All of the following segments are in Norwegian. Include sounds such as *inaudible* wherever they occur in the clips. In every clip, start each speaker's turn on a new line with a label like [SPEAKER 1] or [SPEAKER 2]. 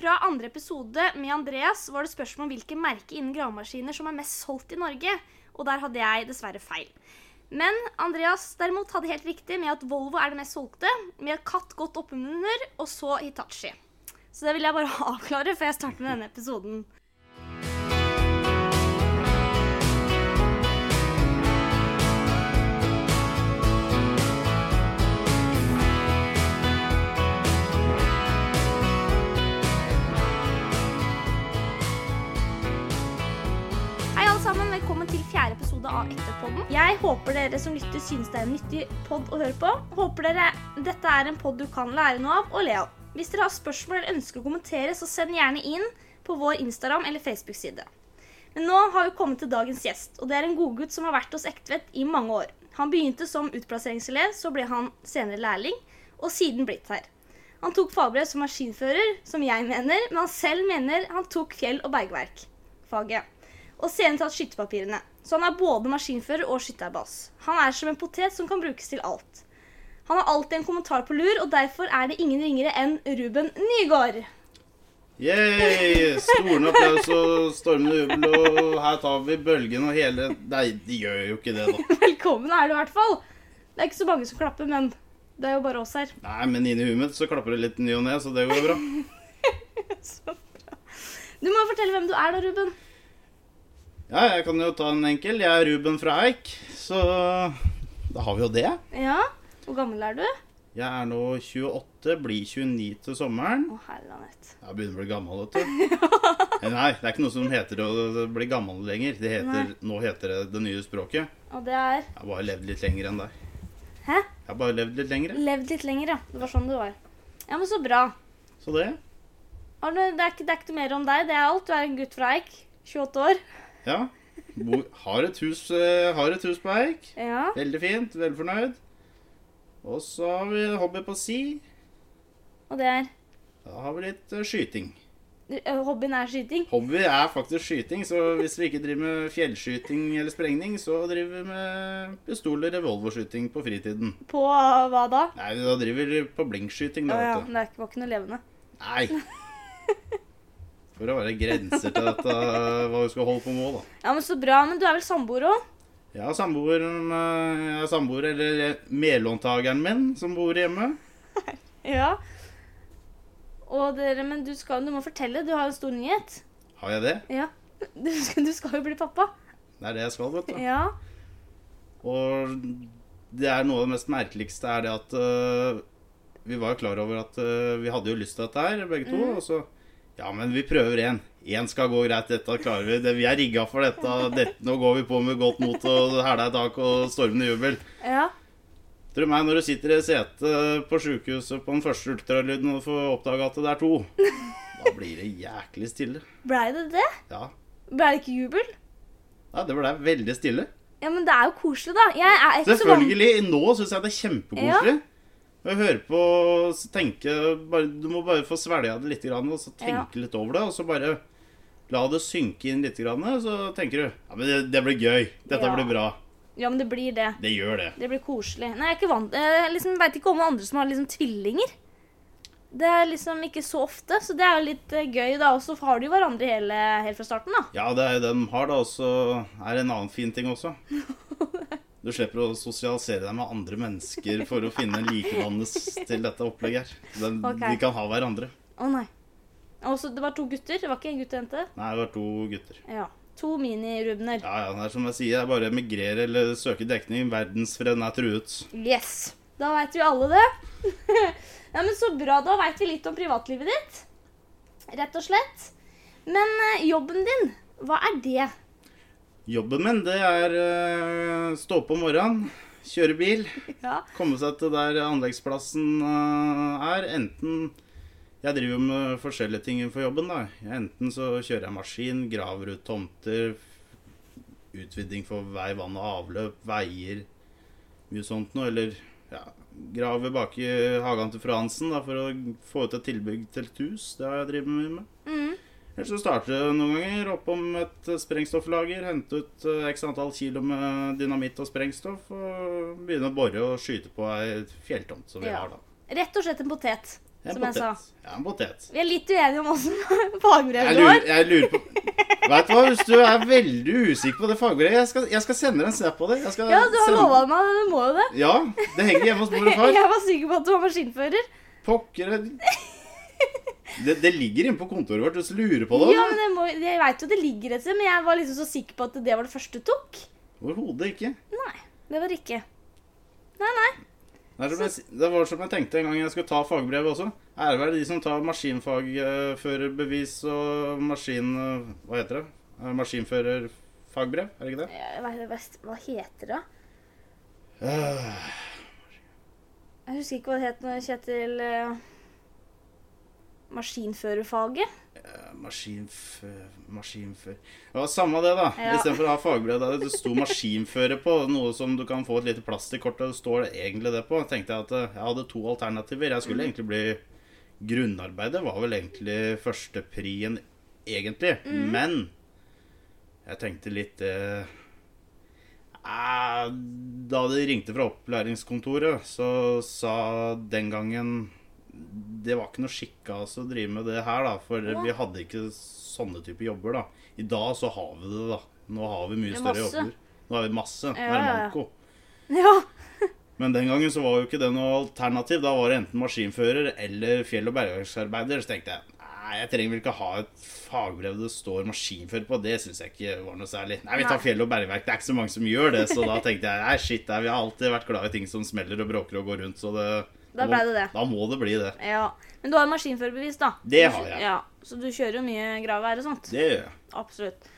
[SPEAKER 1] Fra andre episode med Andreas var det spørsmål om hvilke merke innen gravemaskiner som er mest solgt i Norge, og der hadde jeg dessverre feil. Men Andreas derimot hadde helt riktig med at Volvo er det mest solgte, med katt godt oppunder, og så Hitachi. Så det vil jeg bare *laughs* avklare før jeg starter med denne episoden. Hei alle sammen, velkommen til fjerde episode av Ektepodden. Jeg håper dere som lytter synes det er en nyttig podd å høre på. Håper dere dette er en podd du kan lære noe av og le av. Hvis dere har spørsmål eller ønsker å kommentere, så send gjerne inn på vår Instagram eller Facebook-side. Men nå har vi kommet til dagens gjest, og det er en godgutt som har vært hos Ektvedt i mange år. Han begynte som utplasseringselev, så ble han senere lærling, og siden blitt her. Han tok fagbrev som maskinfører, som jeg mener, men han selv mener han tok fjell- og bergverk-faget. Og senere tatt skyttepapirene. Så han er både maskinfører og skytterbass. Han er som en potet som kan brukes til alt. Han har alltid en kommentar på lur, og derfor er det ingen ringere enn Ruben Nygaard. *laughs*
[SPEAKER 2] Yay! Stolen applaus og stormende jubel, og her tar vi bølgen og hele Nei, de gjør jo ikke det, da.
[SPEAKER 1] Velkommen er du i hvert fall. Det er ikke så mange som klapper, men det er jo bare oss her.
[SPEAKER 2] Nei, men inni huet mitt så klapper det litt ny og ne, så det går bra.
[SPEAKER 1] Så bra. Du må fortelle hvem du er da, Ruben.
[SPEAKER 2] Ja, jeg kan jo ta en enkel. Jeg er Ruben fra Eik, så da har vi jo det.
[SPEAKER 1] Ja, hvor gammel er du?
[SPEAKER 2] Jeg er nå 28, blir 29 til sommeren.
[SPEAKER 1] Å, herrelandet.
[SPEAKER 2] Jeg begynner å bli gammel, vet du. Eh, Nei, det er ikke noe som heter å bli gammel lenger. Det heter, nå heter det det nye språket.
[SPEAKER 1] Og det er
[SPEAKER 2] Jeg har bare levd litt lenger enn deg.
[SPEAKER 1] Hæ?
[SPEAKER 2] Jeg har bare levd litt lenger, jeg.
[SPEAKER 1] Levd litt lenger, ja. Det var sånn det var. Ja, men så bra.
[SPEAKER 2] så det.
[SPEAKER 1] Arne, det er ikke, det er ikke noe mer om deg. Det er alt. Du er en gutt fra Eik. 28 år.
[SPEAKER 2] Ja. Bo, har, et hus, eh, har et hus på Eik.
[SPEAKER 1] Ja.
[SPEAKER 2] Veldig fint, veldig fornøyd. Og så har vi en hobby på si.
[SPEAKER 1] Og det er
[SPEAKER 2] Da har vi litt eh, skyting.
[SPEAKER 1] ø, Eh, Hobbyen er skyting.
[SPEAKER 2] Hobby er faktisk skyting, så hvis vi ikke driver med fjellskyting eller sprengning, så driver vi med pistol- og revolverskyting på fritiden.
[SPEAKER 1] På ø, hva da?
[SPEAKER 2] Nei, da driver vi på
[SPEAKER 1] Å
[SPEAKER 2] blinkskyting, da,
[SPEAKER 1] ja,
[SPEAKER 2] vet du.
[SPEAKER 1] men det er ikke- var ikke noe levende.
[SPEAKER 2] Nei. For å være grenser til dette, hva vi skal holde på med, da.
[SPEAKER 1] Ja, men Så bra. Men du er vel samboer òg?
[SPEAKER 2] Jeg har samboer, eh, jeg har samboer eller medlåntakeren min, som bor hjemme.
[SPEAKER 1] Ja. Og dere, men du, skal, du må fortelle. Du har en stor nyhet.
[SPEAKER 2] Har jeg det?
[SPEAKER 1] Ja. *laughs* Du, skal- du skal jo bli pappa.
[SPEAKER 2] Det er det jeg skal, vet du.
[SPEAKER 1] Ja.
[SPEAKER 2] Og det er noe av det mest merkeligste er det at øh, vi var jo klar over at øh, vi hadde jo lyst til dette her, begge to. Og så Ja, men vi prøver én. Én skal gå greit, dette klarer vi. Det, vi er rigga for dette. dette. Nå går vi på med godt mot og hæla i tak og stormende jubel.
[SPEAKER 1] Ja.
[SPEAKER 2] Tror meg, når du sitter i setet på sjukehuset på den første ultralyden og får oppdaga at det er to, da blir det jæklig stille.
[SPEAKER 1] Blei det det?
[SPEAKER 2] Ja.
[SPEAKER 1] Blei det ikke jubel?
[SPEAKER 2] Nei, det ble veldig stille.
[SPEAKER 1] Ja, men det er jo koselig, da. Jeg er ikke så vant
[SPEAKER 2] Selvfølgelig. Nå syns jeg det er kjempekoselig. Å høre på og s- tenke bare, Du må bare få svelga det litt, grann, og så tenke litt over det. Og så bare la det synke inn litt, grann, så tenker du ja, men det, det blir gøy. Dette
[SPEAKER 1] Ja.
[SPEAKER 2] blir bra.
[SPEAKER 1] Ja, men det blir det.
[SPEAKER 2] Det gjør det.
[SPEAKER 1] Det blir koselig. Nei, jeg er ikke vant Jeg liksom veit ikke om andre som har liksom tvillinger. Det er liksom ikke så ofte, så det er jo litt eh, gøy, da. Og så har de jo hverandre hele, helt fra starten, da.
[SPEAKER 2] Ja, det er jo det de har, da. Og så er det en annen fin ting
[SPEAKER 1] *laughs*
[SPEAKER 2] også. Du slipper å sosialisere deg med andre mennesker for å finne en likedannes til dette opplegget her. De,
[SPEAKER 1] Ok.
[SPEAKER 2] de kan ha hverandre.
[SPEAKER 1] Å nei. Og så det var to gutter. Det var ikke en gutt og en jente.
[SPEAKER 2] Nei, det var to gutter.
[SPEAKER 1] Ja. To mini-Rubener.
[SPEAKER 2] Ja, ja, det er som jeg sier, jeg bare emigrerer eller søker dekning. Verdensfreden er truet.
[SPEAKER 1] Yes. Da veit vi alle det. *laughs* ja, men så bra. Da veit vi litt om privatlivet ditt. Rett og slett. Men eh, jobben din, hva er det?
[SPEAKER 2] Jobben min, det er eh, stå opp om morgenen, kjøre bil,
[SPEAKER 1] Ja.
[SPEAKER 2] komme seg til der anleggsplassen eh, er. Enten Jeg driver jo med forskjellige ting innenfor jobben, da. Enten så kjører jeg maskin, graver ut tomter, utviding for vei, vann og avløp, veier, mye sånt noe. Eller ja, grave bak i hagen til fru Hansen da, for å få ut et tilbygg til et hus. Det har jeg drevet mye med.
[SPEAKER 1] Mm.
[SPEAKER 2] Eller så starter det noen ganger opp om et sprengstofflager, hente ut eh, x antall kilo med dynamitt og sprengstoff, og begynne å bore og skyte på ei fjelltomt som vi
[SPEAKER 1] Ja.
[SPEAKER 2] har da.
[SPEAKER 1] Rett og slett en potet.
[SPEAKER 2] En
[SPEAKER 1] Som jeg sa.
[SPEAKER 2] potet. Ja, en potet.
[SPEAKER 1] Vi er litt uenige om *laughs* åssen fagbrevet
[SPEAKER 2] Jeg
[SPEAKER 1] går.
[SPEAKER 2] lurer, jeg lurer på Vet du hva, hvis du er veldig usikker på det fagbrevet Jeg skal, jeg skal sende deg en snap på det. Jeg skal
[SPEAKER 1] Ja, du har
[SPEAKER 2] sende-
[SPEAKER 1] lova meg det. Du må jo det.
[SPEAKER 2] Ja, det henger hjemme hos mor og
[SPEAKER 1] *laughs*
[SPEAKER 2] far.
[SPEAKER 1] Jeg var sikker på at du var maskinfører.
[SPEAKER 2] Pokker det, det ligger inne på kontoret vårt. Hvis du lurer på det
[SPEAKER 1] Ja, men jeg, må, jeg vet jo det ligger et sted, men jeg var liksom så sikker på at det var det første du tok.
[SPEAKER 2] Overhodet ikke.
[SPEAKER 1] Nei, det var det ikke. Nei, nei.
[SPEAKER 2] Det, er som jeg, det var som jeg tenkte en gang jeg skulle ta fagbrev også. Ære være de som tar maskinfagførerbevis og maskin... eh, Hva heter det? Eh, Maskinførerfagbrev, er det ikke det?
[SPEAKER 1] Jeg vet, det best. Hva heter det?
[SPEAKER 2] Eh,
[SPEAKER 1] Jeg husker ikke hva det het når Kjetil eh, Maskinførerfaget. *laughs*
[SPEAKER 2] Eh, Maskinfør... Maskinfør... Det var samme det, da.
[SPEAKER 1] Ja.
[SPEAKER 2] Istedenfor å ha fagbrev der det sto 'maskinfører' på, noe som du kan få et lite plastikkort, og det står det egentlig det på, tenkte jeg at eh, jeg hadde to alternativer. Jeg skulle egentlig bli Grunnarbeidet var vel egentlig førsteprien, egentlig. Men jeg tenkte litt eh, eh, Da de ringte fra opplæringskontoret, så sa den gangen det var ikke noe skikka å drive med det her, da. For vi hadde ikke sånne type jobber, da. I dag så har vi det, da. Nå har vi mye
[SPEAKER 1] Det er
[SPEAKER 2] større
[SPEAKER 1] masse.
[SPEAKER 2] jobber. Nå har vi masse. Nå
[SPEAKER 1] Ja,
[SPEAKER 2] er det
[SPEAKER 1] ja, ja.
[SPEAKER 2] manko.
[SPEAKER 1] Ja.
[SPEAKER 2] Men den gangen så var jo ikke det noe alternativ. Da var det enten maskinfører eller fjell- og bergverksarbeider. Så tenkte jeg nei, jeg trenger vel ikke ha et fagbrev det står maskinfører på. Det syns jeg ikke var noe særlig. Nei, vi tar
[SPEAKER 1] Nei.
[SPEAKER 2] fjell- og bergverk. Det er ikke så mange som gjør det. Så da tenkte jeg nei, shit, nei, vi har alltid vært glad i ting som smeller og bråker og går rundt. Så det,
[SPEAKER 1] Da
[SPEAKER 2] må-
[SPEAKER 1] ble det det.
[SPEAKER 2] da må det bli det.
[SPEAKER 1] ja. Men du har maskinførerbevis, da.
[SPEAKER 2] Det
[SPEAKER 1] Du-
[SPEAKER 2] har jeg.
[SPEAKER 1] Ja, Så du kjører jo mye gravvær og sånt.
[SPEAKER 2] Det gjør jeg.
[SPEAKER 1] Absolutt.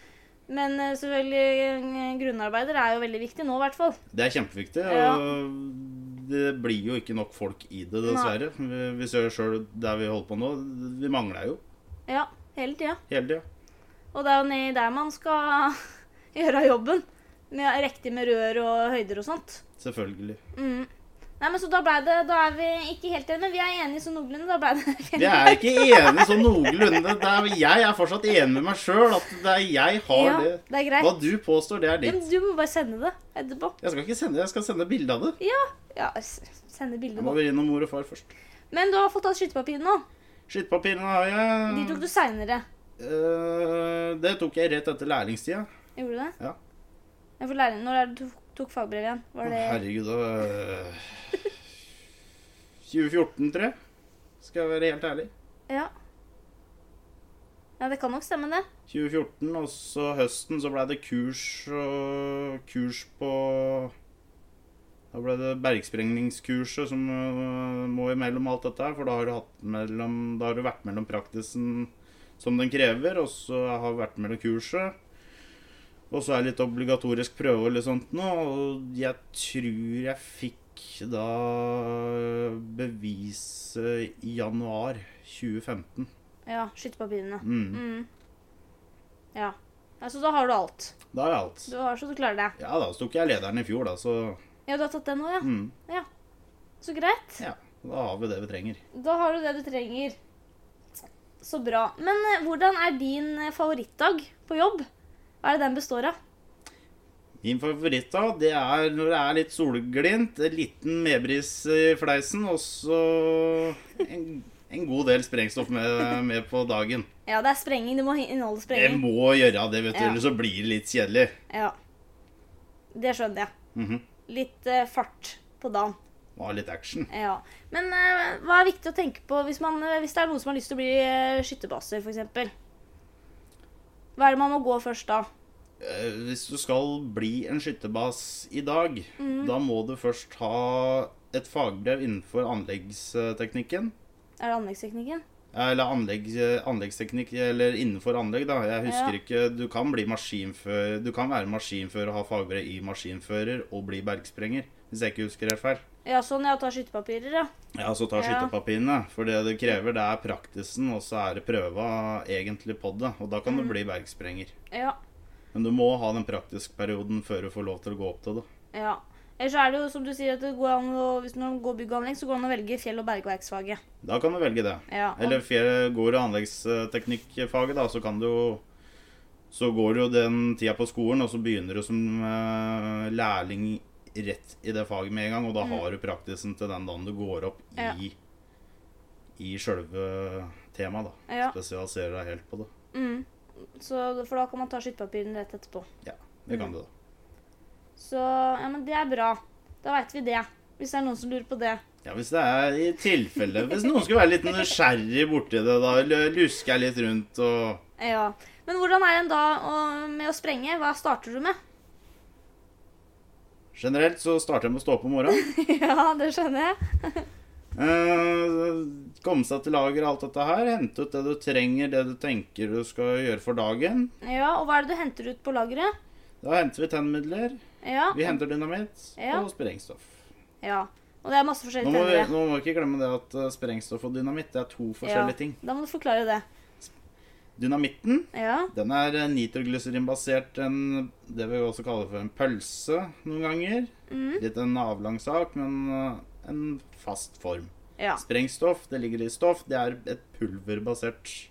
[SPEAKER 1] Men eh, selvfølgelig, eh, grunnarbeider er jo veldig viktig nå, i hvert fall.
[SPEAKER 2] Det er kjempeviktig.
[SPEAKER 1] Ja.
[SPEAKER 2] Og det blir jo ikke nok folk i det, dessverre. Vi, vi ser jo sjøl der vi holder på nå. Vi mangler jo
[SPEAKER 1] Ja, hele tida.
[SPEAKER 2] hele tida.
[SPEAKER 1] Og det er jo nedi der man skal *laughs* gjøre jobben. Med, riktig med rør og høyder og sånt.
[SPEAKER 2] Selvfølgelig.
[SPEAKER 1] Mm. Nei, men så da ble det Da er vi ikke helt enige, men vi er enige sånn noenlunde. Da ble det *laughs*
[SPEAKER 2] Vi er ikke enige sånn noenlunde. Det er, jeg er fortsatt enig med meg sjøl at det er jeg har
[SPEAKER 1] Ja,
[SPEAKER 2] det.
[SPEAKER 1] det er
[SPEAKER 2] Hva
[SPEAKER 1] greit.
[SPEAKER 2] du påstår, det er
[SPEAKER 1] Ja, men
[SPEAKER 2] ditt.
[SPEAKER 1] du må bare sende det etterpå.
[SPEAKER 2] Jeg skal ikke sende jeg skal sende bilde av det.
[SPEAKER 1] Ja. ja s- sende bildet
[SPEAKER 2] Jeg må
[SPEAKER 1] nå.
[SPEAKER 2] være innom mor og far først.
[SPEAKER 1] Men du har fått tatt skytepapirene nå.
[SPEAKER 2] Skittpapirene har jeg.
[SPEAKER 1] De tok du seinere.
[SPEAKER 2] Eh, det tok jeg rett etter lærlingstida.
[SPEAKER 1] Gjorde du det?
[SPEAKER 2] Ja.
[SPEAKER 1] Jeg får lære Når er det du tok fagbrev igjen?
[SPEAKER 2] Å,
[SPEAKER 1] Var det
[SPEAKER 2] Herregud, det var 2014, tror jeg. Skal jeg være helt ærlig.
[SPEAKER 1] Ja. Ja, det kan nok stemme, det.
[SPEAKER 2] 2014, og så høsten så ble det kurs og kurs på Da ble det bergsprengningskurset som øh, må imellom alt dette her, for da har du, hatt mellom, da har du vært mellom praktisen som den krever, og så har du vært mellom kurset. Og så er det litt obligatorisk prøve eller sånt nå, og jeg tror jeg fikk da beviset i januar 2015.
[SPEAKER 1] Ja. Skytepapirene.
[SPEAKER 2] Mm.
[SPEAKER 1] Mm. Ja. Altså, da har du alt.
[SPEAKER 2] Da er alt.
[SPEAKER 1] Du har så du klarer det.
[SPEAKER 2] Ja da, så tok jeg lederen i fjor, da, så
[SPEAKER 1] Ja, du har tatt den òg, ja.
[SPEAKER 2] mm,
[SPEAKER 1] Så greit.
[SPEAKER 2] ja. Da har vi det vi trenger.
[SPEAKER 1] Da har du det du trenger. Så bra. Men eh, hvordan er din eh, favorittdag på jobb? Hva er det den består av?
[SPEAKER 2] Min favoritt da, det er når det er litt solglimt, en liten medbris i fleisen, og så en, en god del sprengstoff med, med på dagen.
[SPEAKER 1] Ja, det er sprenging. Det må inneholde
[SPEAKER 2] Det
[SPEAKER 1] sprenging.
[SPEAKER 2] må gjøre det, vet du,
[SPEAKER 1] Ja.
[SPEAKER 2] ellers så blir det litt kjedelig.
[SPEAKER 1] Ja. Det skjønner jeg.
[SPEAKER 2] Mhm.
[SPEAKER 1] Litt eh, fart på dagen.
[SPEAKER 2] Må ha litt action.
[SPEAKER 1] Ja. Men eh, hva er viktig å tenke på hvis, man, eh, hvis det er noen som har lyst til å bli eh, skytterbaser, f.eks.? Hva er det man må gå først da?
[SPEAKER 2] Eh, Hvis du skal bli en skytterbas i dag,
[SPEAKER 1] Mhm.
[SPEAKER 2] da må du først ha et fagbrev innenfor anleggsteknikken.
[SPEAKER 1] Er det anleggsteknikken?
[SPEAKER 2] Eller anlegg, anleggsteknikk, eller innenfor anlegg, da. Jeg husker
[SPEAKER 1] Ja.
[SPEAKER 2] ikke Du kan bli maskinfører Du kan være maskinfører og ha fagbrev i maskinfører og bli bergsprenger, hvis jeg ikke husker helt feil.
[SPEAKER 1] Ja, sånn ja, ta skytterpapirer, ja.
[SPEAKER 2] Ja, så ta
[SPEAKER 1] Ja.
[SPEAKER 2] skytterpapirene. For det det krever, det er praktisen, og så er det prøva egentlig på det. Og da kan
[SPEAKER 1] Mm.
[SPEAKER 2] du bli bergsprenger.
[SPEAKER 1] Ja.
[SPEAKER 2] Men du må ha den praktiskperioden før du får lov til å gå opp til det.
[SPEAKER 1] Ja. Eller så er det jo som du sier, at det går an å, hvis man går bygg og anlegg, så går det an å velge fjell- og bergverksfaget.
[SPEAKER 2] Da kan du velge det.
[SPEAKER 1] Ja, og-
[SPEAKER 2] Eller fjerde- går du anleggsteknikkfaget, da, så kan du jo Så går du jo den tida på skolen, og så begynner du som eh, lærling rett i det faget med en gang, og da har du praktisen til den dagen du går opp i i sjølve temaet, da.
[SPEAKER 1] Ja.
[SPEAKER 2] Spesialiserer deg helt på det.
[SPEAKER 1] Mm. Så, for da kan man ta skytterpapirene rett etterpå.
[SPEAKER 2] Det kan du, da.
[SPEAKER 1] Så ja, men det er bra. Da veit vi det. Hvis det er noen som lurer på det.
[SPEAKER 2] Ja, Hvis det er i tilfelle Hvis noen skulle være litt nysgjerrig borti det, da l- lusker jeg litt rundt og
[SPEAKER 1] Ja. Men hvordan er en da å- med å sprenge? Hva starter du med? *laughs*
[SPEAKER 2] Generelt så starter jeg med å stå opp om morgenen.
[SPEAKER 1] ja, det skjønner jeg.
[SPEAKER 2] Eh, komme seg til lager og alt dette her. Hente ut det du trenger, det du tenker du skal gjøre for dagen.
[SPEAKER 1] Ja, Og hva er det du henter ut på lageret?
[SPEAKER 2] Da henter vi tennmidler,
[SPEAKER 1] Ja.
[SPEAKER 2] vi henter dynamitt
[SPEAKER 1] Ja.
[SPEAKER 2] og sprengstoff.
[SPEAKER 1] ja. Og det er masse forskjellige
[SPEAKER 2] Nå må, vi,
[SPEAKER 1] tennere.
[SPEAKER 2] nå må vi ikke glemme det at eh, sprengstoff og dynamitt det er to forskjellige ting.
[SPEAKER 1] Da må du forklare det.
[SPEAKER 2] Dynamitten
[SPEAKER 1] Ja.
[SPEAKER 2] den er eh, nitroglyserinbasert. En, det vi også kaller for en pølse noen ganger.
[SPEAKER 1] Mm.
[SPEAKER 2] Litt en avlang sak, men eh, en fast form.
[SPEAKER 1] Ja.
[SPEAKER 2] Sprengstoff, det ligger i stoff. Det er et pulverbasert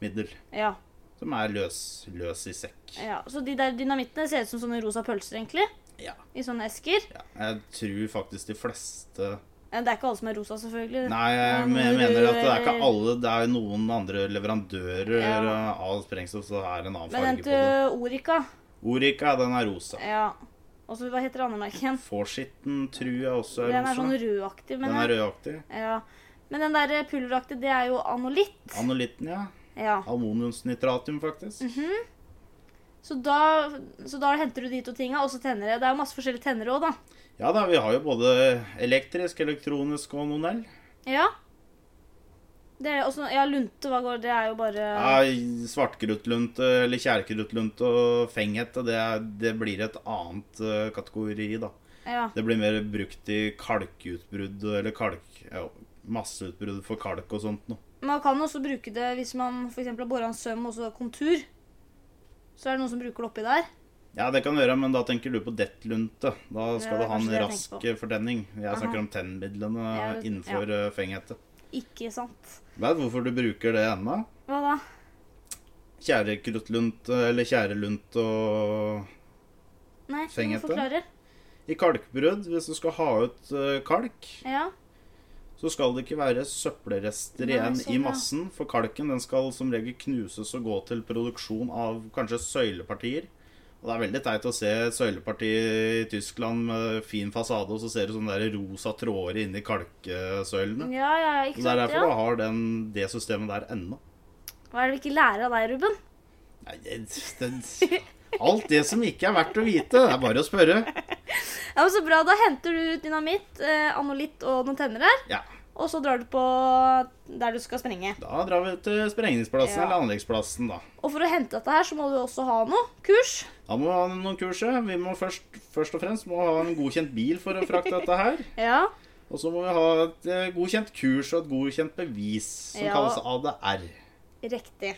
[SPEAKER 2] middel
[SPEAKER 1] ja.
[SPEAKER 2] som er løs, løs i sekk.
[SPEAKER 1] ja. Så de der dynamittene ser ut som sånne rosa pølser, egentlig.
[SPEAKER 2] Ja.
[SPEAKER 1] I sånne esker.
[SPEAKER 2] Ja, jeg tror faktisk de fleste
[SPEAKER 1] Eh, Det er ikke alle som er rosa, selvfølgelig.
[SPEAKER 2] Nei, jeg me- mener at det er ikke alle. Det er noen andre leverandører
[SPEAKER 1] Ja.
[SPEAKER 2] eh, av sprengstoff, så det er en annen
[SPEAKER 1] Men eh, den
[SPEAKER 2] farge på det.
[SPEAKER 1] til Orica
[SPEAKER 2] Orica, den er rosa.
[SPEAKER 1] Ja. Og så hva heter andemerket igjen?
[SPEAKER 2] Forshitten tror jeg også er
[SPEAKER 1] Den er
[SPEAKER 2] rosa.
[SPEAKER 1] sånn rødaktig. Men
[SPEAKER 2] Den er rødaktig.
[SPEAKER 1] Ja. Men den der eh, pulveraktige, det er jo anolitt.
[SPEAKER 2] Anolitten, ja.
[SPEAKER 1] Ja.
[SPEAKER 2] Ammoniumsnitratium, faktisk.
[SPEAKER 1] Mhm. Så da, så da henter du de to tinga, og så tennere. Det er jo masse forskjellige tennere òg, da.
[SPEAKER 2] Ja da, vi har jo både elektrisk, elektronisk og nonell.
[SPEAKER 1] Ja. Det er også, ja, lunte, hva går Det er jo bare
[SPEAKER 2] Ja, Svartkruttlunte eller tjærkruttlunte og fenghette, det, er- det blir et annet eh, kategori, da.
[SPEAKER 1] Ja.
[SPEAKER 2] Det blir mer brukt i kalkutbrudd eller kalk... Ja, masseutbrudd for kalk og sånt noe.
[SPEAKER 1] Man kan også bruke det hvis man f.eks. har bora en søm og så kontur. Så er det noen som bruker det oppi der.
[SPEAKER 2] Ja, det kan være, men da tenker du på dettlunte. Da skal
[SPEAKER 1] Ja,
[SPEAKER 2] du ha
[SPEAKER 1] kanskje
[SPEAKER 2] en
[SPEAKER 1] det jeg
[SPEAKER 2] rask eh,
[SPEAKER 1] tenker
[SPEAKER 2] fortenning. Jeg snakker om tennmidlene
[SPEAKER 1] Ja, det-
[SPEAKER 2] innenfor eh, fenghette.
[SPEAKER 1] Ikke sant.
[SPEAKER 2] Vet du hvorfor du bruker det ennå?
[SPEAKER 1] Hva da?
[SPEAKER 2] Tjærekruttlunt eh, eller tjærelunt og
[SPEAKER 1] Nei, du må
[SPEAKER 2] Fengete?
[SPEAKER 1] forklare.
[SPEAKER 2] I kalkbrudd, hvis du skal ha ut eh, kalk,
[SPEAKER 1] Ja.
[SPEAKER 2] så skal det ikke være søppelrester
[SPEAKER 1] Nei,
[SPEAKER 2] igjen
[SPEAKER 1] sånn,
[SPEAKER 2] i
[SPEAKER 1] ja.
[SPEAKER 2] massen. For kalken den skal som regel knuses og gå til produksjon av kanskje søylepartier. Og det er veldig teit å se et søyleparti i Tyskland med fin fasade, og så ser du sånne der rosa tråder inni
[SPEAKER 1] ja,
[SPEAKER 2] kalksøylene.
[SPEAKER 1] ja, ja, ikke
[SPEAKER 2] Så det er
[SPEAKER 1] sant?
[SPEAKER 2] derfor
[SPEAKER 1] Ja.
[SPEAKER 2] du har den, det systemet der ennå.
[SPEAKER 1] Hva er det vi ikke lærer av deg, Ruben?
[SPEAKER 2] Nei, det- det- Alt det som ikke er verdt å vite, det er bare å spørre.
[SPEAKER 1] Ja, men Så bra. Da henter du ut dynamitt, eh, anolitt og noen tenner her.
[SPEAKER 2] Ja,
[SPEAKER 1] Og så drar du på der du skal sprenge.
[SPEAKER 2] Da drar vi til sprengningsplassen
[SPEAKER 1] Ja.
[SPEAKER 2] eller anleggsplassen, da.
[SPEAKER 1] Og for å hente dette her, så må du også ha noe kurs.
[SPEAKER 2] Da må vi ha noen kurser. Vi må først, først og fremst må ha en godkjent bil for å frakte dette her.
[SPEAKER 1] Ja.
[SPEAKER 2] Og så må vi ha et eh, godkjent kurs og et godkjent bevis, som
[SPEAKER 1] Ja.
[SPEAKER 2] kalles ADR.
[SPEAKER 1] Riktig.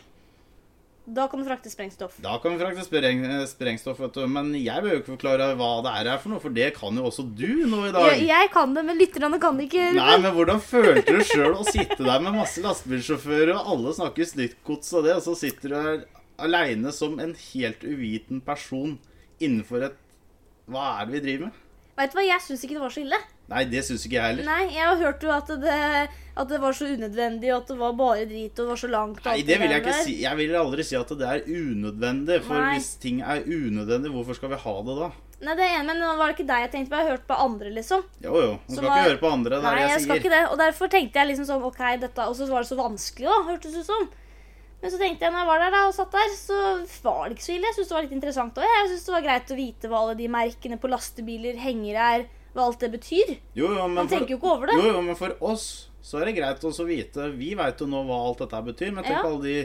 [SPEAKER 1] Da kan du frakte sprengstoff.
[SPEAKER 2] Da kan vi frakte spreng, eh, sprengstoff, vet du. Men jeg behøver jo ikke forklare hva ADR er for noe, for det kan jo også du nå i dag.
[SPEAKER 1] Jeg, jeg kan det, men lytterne kan det ikke.
[SPEAKER 2] Nei,
[SPEAKER 1] Ruben.
[SPEAKER 2] men hvordan følte du sjøl å sitte der med masse lastebilsjåfører, og alle snakker snyttgods og det, og så sitter du her aleine som en helt uviten person innenfor et Hva er det vi driver med?
[SPEAKER 1] Vet du hva, jeg syns ikke det var så ille.
[SPEAKER 2] Nei, det syns ikke jeg heller.
[SPEAKER 1] Nei, jeg har hørt jo at det, at det var så unødvendig, og at det var bare drit, og det var så langt. og
[SPEAKER 2] Nei,
[SPEAKER 1] alt
[SPEAKER 2] det vil
[SPEAKER 1] der.
[SPEAKER 2] jeg ikke si. Jeg vil aldri si at det er unødvendig. For
[SPEAKER 1] Nei.
[SPEAKER 2] hvis ting er unødvendig, hvorfor skal vi ha det da?
[SPEAKER 1] Nei, det er enig, men nå var det ikke deg jeg tenkte på, jeg har hørt på andre, liksom.
[SPEAKER 2] Jo jo, man
[SPEAKER 1] Så
[SPEAKER 2] skal
[SPEAKER 1] hva-
[SPEAKER 2] ikke høre på andre. Det
[SPEAKER 1] Nei,
[SPEAKER 2] er det
[SPEAKER 1] jeg
[SPEAKER 2] jeg
[SPEAKER 1] skal
[SPEAKER 2] sier.
[SPEAKER 1] ikke det. Og derfor tenkte jeg liksom sånn, ok, dette, og så var det så vanskelig da, hørtes det ut som. Men så tenkte jeg når jeg var der da, og satt der, så var det ikke så ille. Jeg synes det var litt interessant også. Jeg synes det var greit å vite hva alle de merkene på lastebiler henger her, hva alt det betyr.
[SPEAKER 2] Jo, jo, men
[SPEAKER 1] Man
[SPEAKER 2] for-
[SPEAKER 1] tenker jo ikke over det.
[SPEAKER 2] Jo, jo, men for oss så er det greit også å vite Vi veit jo nå hva alt dette betyr, men tenk
[SPEAKER 1] Ja.
[SPEAKER 2] alle de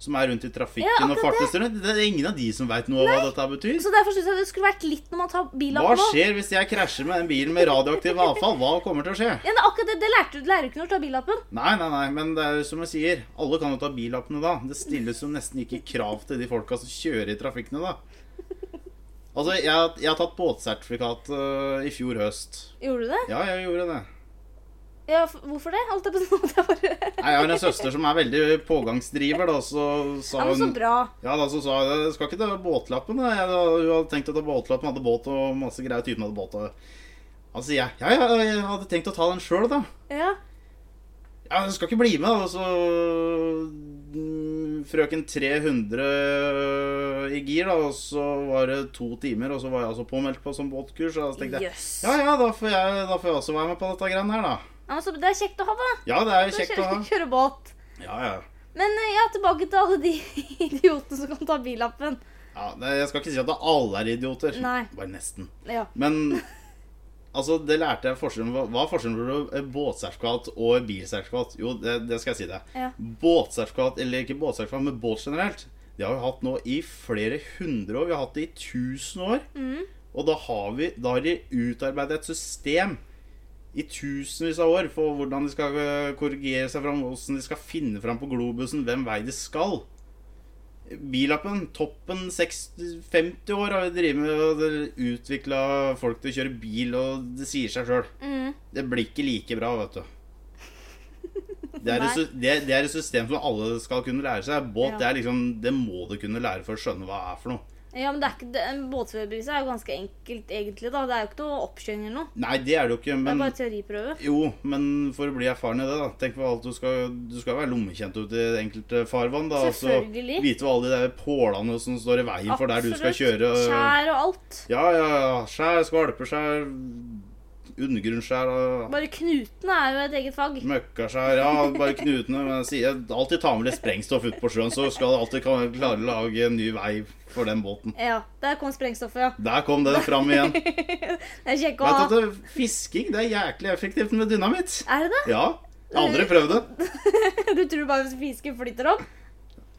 [SPEAKER 2] som er rundt i trafikken
[SPEAKER 1] Ja,
[SPEAKER 2] og
[SPEAKER 1] akkurat
[SPEAKER 2] fartes rundt. Det er ingen av de som veit noe om hva dette betyr.
[SPEAKER 1] Så derfor synes jeg det skulle vært litt når man tar bilen
[SPEAKER 2] Hva
[SPEAKER 1] opp nå.
[SPEAKER 2] skjer hvis jeg krasjer med den bilen med radioaktivt avfall? Hva kommer til å skje?
[SPEAKER 1] Ja, men akkurat det, det lærte du, det lærer du ikke når du tar billappen.
[SPEAKER 2] Nei, nei, nei, men det er jo som jeg sier, alle kan jo ta billappene da. Det stilles jo nesten ikke krav til de folka som kjører i trafikkene da. Altså, jeg, jeg har tatt båtsertifikat øh, i fjor høst.
[SPEAKER 1] Gjorde du det?
[SPEAKER 2] Ja, jeg gjorde det.
[SPEAKER 1] Ja, f- hvorfor det? Alt det på *laughs* sånn at jeg bare...
[SPEAKER 2] Nei, Jeg har en søster som er veldig pågangsdriver, da, så sa
[SPEAKER 1] Ja, men så
[SPEAKER 2] hun
[SPEAKER 1] bra.
[SPEAKER 2] Ja, da så sa jeg skal ikke ta båtlappen. da. Jeg, hun hadde tenkt å ta båtlappen, hadde båt og masse greier. Typen Altså, hadde båt. Og... Han sier jeg ja, ja, jeg hadde tenkt å ta den sjøl, da.
[SPEAKER 1] Ja.
[SPEAKER 2] Ja, du skal ikke bli med, da. Og så mm, Frøken 300 i gir, da, og så var det to timer, og så var jeg altså påmeldt på sånn båtkurs. Og så tenkte jeg
[SPEAKER 1] Jøss.
[SPEAKER 2] ja, ja, da får jeg, da får jeg også være med på dette greiene her, da.
[SPEAKER 1] Ja, men så det er kjekt å ha, da.
[SPEAKER 2] Ja, det er jo
[SPEAKER 1] Så
[SPEAKER 2] kjekt å ha.
[SPEAKER 1] kjøre, *laughs* kjøre båt.
[SPEAKER 2] Ja, ja.
[SPEAKER 1] Men eh, ja, tilbake til alle de *laughs* idiotene som kan ta billappen.
[SPEAKER 2] ja det, jeg skal ikke si at det alle er idioter.
[SPEAKER 1] Nei.
[SPEAKER 2] Bare nesten.
[SPEAKER 1] Ja.
[SPEAKER 2] Men altså, det lærte jeg forskjellen Hva hva er forskjellen på et båtsertifikat og et bilsertifikat? Jo, det, det skal jeg si deg.
[SPEAKER 1] Ja.
[SPEAKER 2] Båtsertifikat, eller ikke båtsertifikat, men båt generelt, det har vi hatt nå i flere hundre år. Vi har hatt det i tusen år. Og da har, vi, da har de utarbeidet et system i tusenvis av år for hvordan de skal eh, korrigere seg fram, hvordan de skal finne fram på globusen, hvem vei de skal. Billappen, toppen 60, 50 år har vi drevet med å utvikla folk til å kjøre bil, og det sier seg sjøl.
[SPEAKER 1] Mm.
[SPEAKER 2] Det blir ikke like bra,
[SPEAKER 1] *laughs*
[SPEAKER 2] vet du. Det er, et,
[SPEAKER 1] Nei.
[SPEAKER 2] sy- det, det er et system som alle skal kunne lære seg. Båt
[SPEAKER 1] Ja.
[SPEAKER 2] det er liksom, det må du kunne lære for å skjønne hva det er for noe.
[SPEAKER 1] Ja, men det er ikke, det, Båtførerbeviset er jo ganske enkelt, egentlig. da. Det er jo ikke noe oppkjøring eller noe.
[SPEAKER 2] Nei, det er det jo ikke,
[SPEAKER 1] Det er
[SPEAKER 2] men
[SPEAKER 1] bare teoriprøve.
[SPEAKER 2] Jo, men for å bli erfaren i det, da. Tenk på alt du skal Du skal være lommekjent ut i det enkelte farvann, da. og så
[SPEAKER 1] Selvfølgelig.
[SPEAKER 2] Vite hva alle de der pålene som står i veien altså, for der du skal kjøre. øh,
[SPEAKER 1] Skjær og alt.
[SPEAKER 2] Ja, ja, ja. Skjær, skvalpeskjær, undergrunnsskjær og
[SPEAKER 1] Bare knutene er jo et eget fag.
[SPEAKER 2] møkkaskjær. Ja, bare knutene. Men jeg sier alltid ta med litt sprengstoff ut på sjøen, så skal du alltid kan- klare å lage en ny vei for den båten.
[SPEAKER 1] Ja, Der kom sprengstoffet, ja.
[SPEAKER 2] Der kom den fram igjen. Vet
[SPEAKER 1] Det er kjekt å
[SPEAKER 2] du at
[SPEAKER 1] ha.
[SPEAKER 2] det, fisking det er jæklig effektivt med dynamitt.
[SPEAKER 1] Er det *laughs* det?
[SPEAKER 2] Ja. Jeg har aldri prøvd det.
[SPEAKER 1] Du tror bare fisken flytter opp?